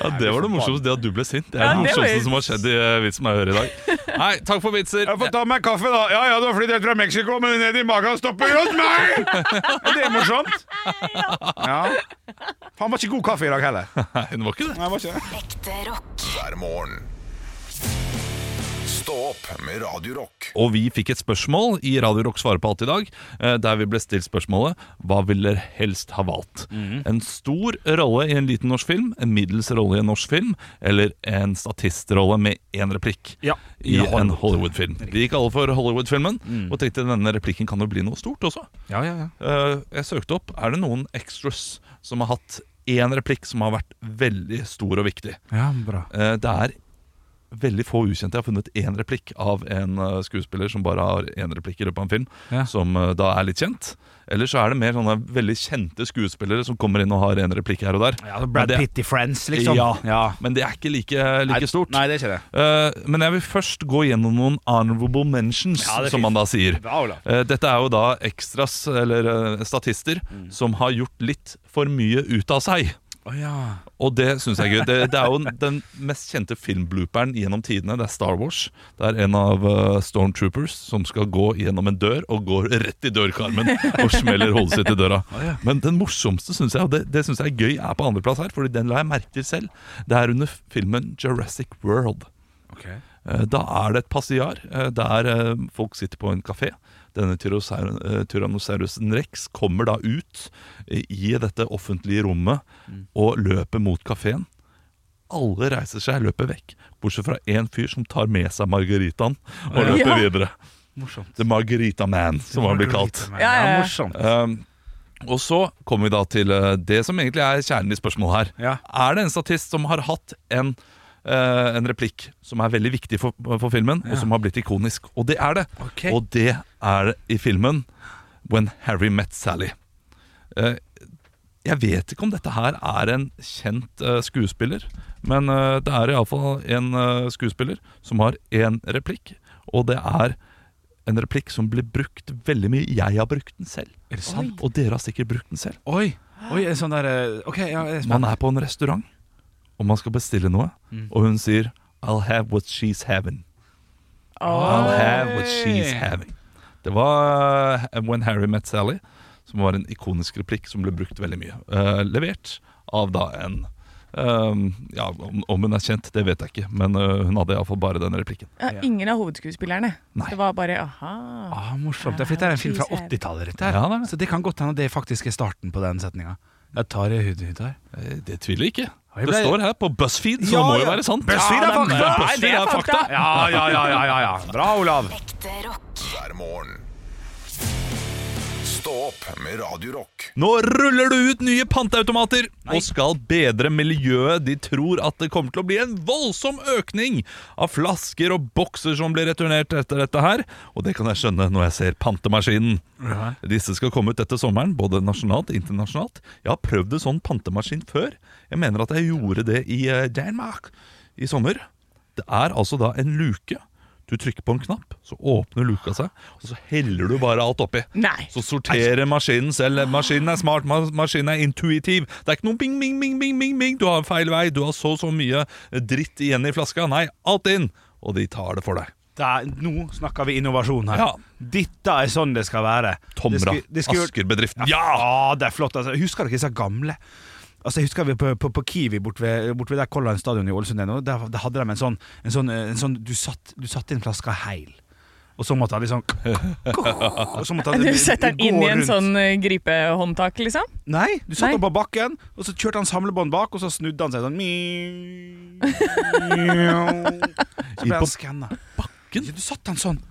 Speaker 2: Ja, det var det morsomste, det at du ble sint. Det er
Speaker 3: Ja,
Speaker 2: det
Speaker 3: det var
Speaker 2: morsomste
Speaker 3: jo-
Speaker 2: som har skjedd i eh, vitsen jeg hører i dag. Nei, takk for vitser.
Speaker 4: Jeg får ta meg en kaffe, da. Ja ja, du har flydd helt fra Mexico, men ned i magen stopper jo hos meg! Er det morsomt? Ja. Han var ikke god kaffe i dag heller. Nei,
Speaker 2: Nei, det var ikke det.
Speaker 4: han var ikke det.
Speaker 7: Ekte rock.
Speaker 8: hver morgen. Stå opp med Radio Rock.
Speaker 2: Og vi fikk et spørsmål i Radio Rock svarer på alt i dag, eh, der vi ble stilt spørsmålet Hva ville dere helst ha valgt? En stor rolle i en liten norsk film, en middels rolle i en norsk film, eller en statistrolle med én replikk
Speaker 4: Ja,
Speaker 2: i
Speaker 4: i Hollywood.
Speaker 2: en Hollywood-film. Vi gikk alle for Hollywood-filmen, og tenkte denne replikken kan jo bli noe stort også.
Speaker 4: Ja, ja, ja.
Speaker 2: Eh, Jeg søkte opp Er det noen extras som har hatt én replikk som har vært veldig stor og viktig?
Speaker 4: Ja, bra.
Speaker 2: Eh, Det er veldig få ukjente. Jeg har funnet én replikk av en eh, skuespiller som bare har én replikk i løpet av en film,
Speaker 4: Ja.
Speaker 2: som eh, da er litt kjent. Eller så er det mer sånne veldig kjente skuespillere som kommer inn og har én replikk her og der.
Speaker 4: Ja, altså Brad
Speaker 2: Men det-
Speaker 4: Pitt i Friends, liksom.
Speaker 2: Ja.
Speaker 4: ja.
Speaker 2: Men det er ikke like, like stort.
Speaker 4: Nei, det er ikke det.
Speaker 2: Eh, men jeg vil først gå gjennom noen honorable mentions,
Speaker 4: Ja, det er
Speaker 2: som
Speaker 4: fint.
Speaker 2: man da sier.
Speaker 4: Bra, Olav.
Speaker 2: Eh, Dette er jo da ekstras, eller eh, statister, som har gjort litt for mye ut av seg.
Speaker 4: Mm. Å ja.
Speaker 2: Og det syns jeg er gøy. Det, det er jo den mest kjente filmblooperen gjennom tidene. Det er Star Wars. Det er en av eh, stormtroopers som skal gå gjennom en dør, og går rett i dørkarmen og smeller hodet sitt i døra. Men den morsomste, syns jeg, og det, det syns jeg er gøy, er på andreplass her, Fordi den la jeg merke til selv. Det er under filmen Jurassic World.
Speaker 4: Okay.
Speaker 2: Eh, Da er det et passiar eh, der eh, folk sitter på en kafé. Denne tyrosaur- eh, Tyrannosaurusen rex kommer da ut eh, i dette offentlige rommet
Speaker 4: Mm.
Speaker 2: og løper mot kafeen. Alle reiser seg, løper vekk, bortsett fra én fyr som tar med seg margaritaen og
Speaker 4: Ja.
Speaker 2: løper
Speaker 3: Ja.
Speaker 2: videre.
Speaker 4: Morsomt.
Speaker 2: The Margarita Man, som han blir kalt.
Speaker 3: Ja,
Speaker 4: Ja,
Speaker 3: ja, ja.
Speaker 4: morsomt.
Speaker 2: Um, og så kommer vi da til eh, det som egentlig er kjernen i spørsmålet her.
Speaker 4: Ja.
Speaker 2: Er det en statist som har hatt en, eh, en replikk som er veldig viktig for, for filmen, og som har blitt ikonisk? Og det er det.
Speaker 4: Ok.
Speaker 2: Og det er i filmen When Harry Met Sally. Eh, jeg vet ikke om dette her er en kjent eh, skuespiller, men eh, det er iallfall en eh, skuespiller som har én replikk, og det er en replikk som blir brukt veldig mye. Jeg har brukt den selv.
Speaker 4: Er det sant?
Speaker 2: Og dere har sikkert brukt den selv.
Speaker 4: Oi. Oi, er det sånn der eh, Ok, ja, jeg er
Speaker 2: Man
Speaker 4: spent.
Speaker 2: er på en restaurant, og man skal bestille noe,
Speaker 4: Mm.
Speaker 2: og hun sier I'll have what she's having. I'll have what she's having. Det var eh, When Harry Met Sally, som var en ikonisk replikk som ble brukt veldig mye. Eh, levert av da en eh, Ja, om, om hun er kjent, det vet jeg ikke, men eh, hun hadde iallfall bare den replikken.
Speaker 3: Ja, ingen av hovedskuespillerne.
Speaker 2: Nei.
Speaker 3: Det var bare aha.
Speaker 4: Ah, morsomt. Det er fordi dette er en film fra 80-tallet, dette her.
Speaker 2: Ja, det er det.
Speaker 4: så det kan godt hende det faktisk er starten på den setninga. Jeg tar ei hud ut her.
Speaker 2: Eh, Det tviler jeg ikke.
Speaker 4: jeg
Speaker 2: Det
Speaker 4: ble-
Speaker 2: står her på BuzzFeed, så
Speaker 4: Ja,
Speaker 2: det må jo
Speaker 4: ja.
Speaker 2: være sant.
Speaker 4: BuzzFeed er
Speaker 2: Ja, men,
Speaker 4: fakta!
Speaker 2: eh,
Speaker 4: Nei, det
Speaker 2: BuzzFeed
Speaker 4: er
Speaker 2: er fakta!
Speaker 4: Ja, ja, ja, ja, ja, ja. Bra, Olav.
Speaker 7: Ekte rock.
Speaker 8: hver morgen. Stå opp med Radio Rock.
Speaker 2: Nå ruller det ut nye panteautomater og skal bedre miljøet. De tror at det kommer til å bli en voldsom økning av flasker og bokser som blir returnert etter dette her. Og det kan jeg skjønne når jeg ser pantemaskinen. Disse skal komme ut etter sommeren, både nasjonalt og internasjonalt. Jeg har prøvd en sånn pantemaskin før. Jeg mener at jeg gjorde det i eh, Danmark i sommer. Det er altså da en luke. Du trykker på en knapp, så åpner luka seg, og så heller du bare alt oppi.
Speaker 3: Nei.
Speaker 2: Så sorterer maskinen selv. Maskinen er smart, ma- maskinen er intuitiv. Det er ikke noe bing, bing, bing, bing, bing, bing. Du har feil vei, du har så så mye dritt igjen i flaska. Nei, alt inn! Og de tar det for deg.
Speaker 4: Det er, nå snakker vi innovasjon her.
Speaker 2: Ja.
Speaker 4: Dette er sånn det skal være.
Speaker 2: Tomra.
Speaker 4: Det skulle- det skulle-
Speaker 2: Asker-bedriften.
Speaker 4: Ja, det er flott. Altså. Husker dere disse gamle? Altså, jeg husker vi på, på, på Kiwi bort ved, bort ved der Color Line Stadion i Ålesund. er nå. Der, der hadde de en sånn, en sånn, en sånn du, satt, du satt inn flaska heil. Og så måtte han liksom og så måtte han-
Speaker 3: Du setter den inn
Speaker 4: gå
Speaker 3: i en
Speaker 4: rundt.
Speaker 3: sånn eh, gripehåndtak, liksom?
Speaker 4: Nei, du satt
Speaker 3: Nei.
Speaker 4: han på bakken, og så kjørte han samlebånd bak, og så snudde han seg sånn Så ble
Speaker 2: på
Speaker 4: han skanna.
Speaker 2: bakken?
Speaker 4: Ja, du satt han sånn.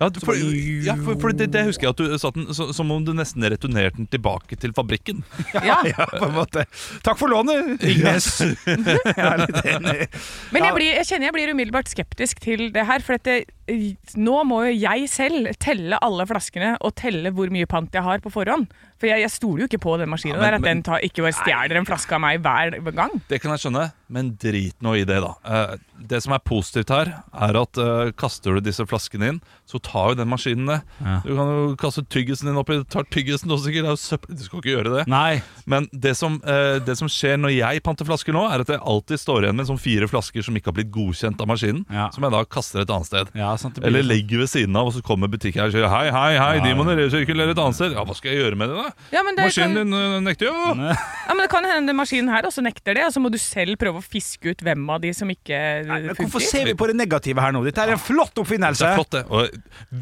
Speaker 2: Ja, du- for, ja, for, for det, det husker jeg at du satt den så, som om du nesten returnerte den tilbake til fabrikken.
Speaker 3: Ja.
Speaker 4: Ja, på en måte. Takk for lånet, Ingnes. Jeg er litt enig.
Speaker 3: Men jeg,
Speaker 4: Ja.
Speaker 3: blir, jeg kjenner jeg blir umiddelbart skeptisk til det her. For at det- eh, nå må jo jeg selv telle alle flaskene og telle hvor mye pant jeg har på forhånd. For jeg, jeg stoler jo ikke på den maskinen
Speaker 2: Ja, men-
Speaker 3: der, at
Speaker 2: men-
Speaker 3: den tar, ikke bare stjeler en flaske av meg hver gang.
Speaker 2: Det kan jeg skjønne, men drit nå i det, da. Eh, Det som er positivt her, er at eh, kaster du disse flaskene inn, så tar jo den maskinen det. Du kan jo kaste tyggisen din oppi, tar tyggisen også, sikkert. Det er jo søppel. Du skal ikke gjøre det.
Speaker 4: Nei.
Speaker 2: Men det som, eh, det som skjer når jeg panter flasker nå, er at jeg alltid står igjen med sånn fire flasker som ikke har blitt godkjent av maskinen,
Speaker 4: Ja.
Speaker 2: som jeg da kaster et annet sted.
Speaker 4: Ja, sant, det blir
Speaker 2: Eller
Speaker 4: sånn.
Speaker 2: legger ved siden av, og så kommer butikken her og sier hei, hei, hei, de må resirkulere et annet sted. Ja, hva skal jeg gjøre med det, da?
Speaker 3: Ja, men det sånn- kan-
Speaker 2: maskinen din eh, nekter jo!
Speaker 3: Ja, men Det kan hende den maskinen her også nekter det, og så må du selv prøve å fiske ut hvem av de som ikke
Speaker 4: Men
Speaker 3: eh,
Speaker 4: hvorfor
Speaker 3: funker.
Speaker 4: ser vi på det negative her nå? Dette er en flott
Speaker 2: Det
Speaker 4: oppfinnelse.
Speaker 2: er flott, det. Og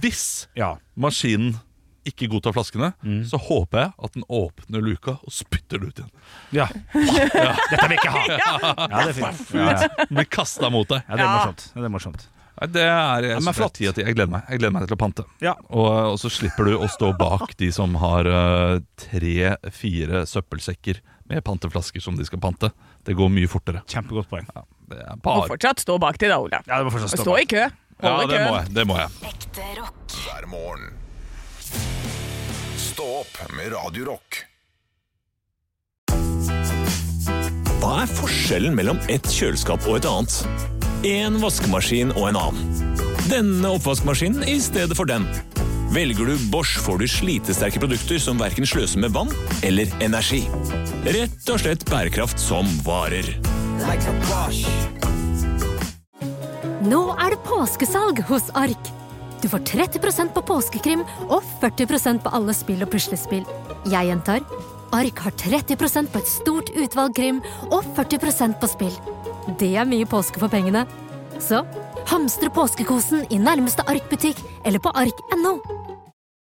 Speaker 2: hvis
Speaker 4: Ja. Mm.
Speaker 2: maskinen ikke godtar flaskene, så håper jeg at den åpner luka og spytter det ut igjen.
Speaker 4: Ja. Dette vil jeg ikke ha. Ja, det er fint. Ja, ja.
Speaker 2: Den blir kasta mot deg.
Speaker 4: ja, det er morsomt. Ja, det er morsomt.
Speaker 2: Nei, Det er, jeg,
Speaker 4: men
Speaker 2: synes det er
Speaker 4: flott.
Speaker 2: ti av ti. jeg gleder meg Jeg gleder meg til å pante.
Speaker 4: Ja.
Speaker 2: Og, og så slipper du å stå bak de som har tre-fire søppelsekker med panteflasker som de skal pante. Det går mye fortere.
Speaker 4: Kjempegodt poeng.
Speaker 2: Ja, det er
Speaker 3: Må
Speaker 2: bare
Speaker 3: fortsatt stå bak de da, Olav.
Speaker 4: Ja, det må fortsatt stå
Speaker 3: Stå i
Speaker 4: bak.
Speaker 3: kø.
Speaker 2: Ja,
Speaker 3: Hold i
Speaker 2: det
Speaker 3: kø.
Speaker 2: må jeg. Det må jeg.
Speaker 7: Ekte rock.
Speaker 8: hver morgen. Stå opp med Radio Rock.
Speaker 9: Hva er forskjellen mellom et kjøleskap og et annet? En vaskemaskin og en annen. Denne oppvaskmaskinen i stedet for den. Velger du Bosch får du slitesterke produkter som verken sløser med vann eller energi.
Speaker 8: Rett og slett bærekraft som varer.
Speaker 11: Nå er det påskesalg hos Ark. Du får 30 på påskekrim og 40 på alle spill og puslespill. Jeg gjentar Ark har 30 på et stort utvalg krim og 40 på spill. Det er mye påske for pengene. Så hamstre påskekosen i nærmeste Ark-butikk eller på ark.no.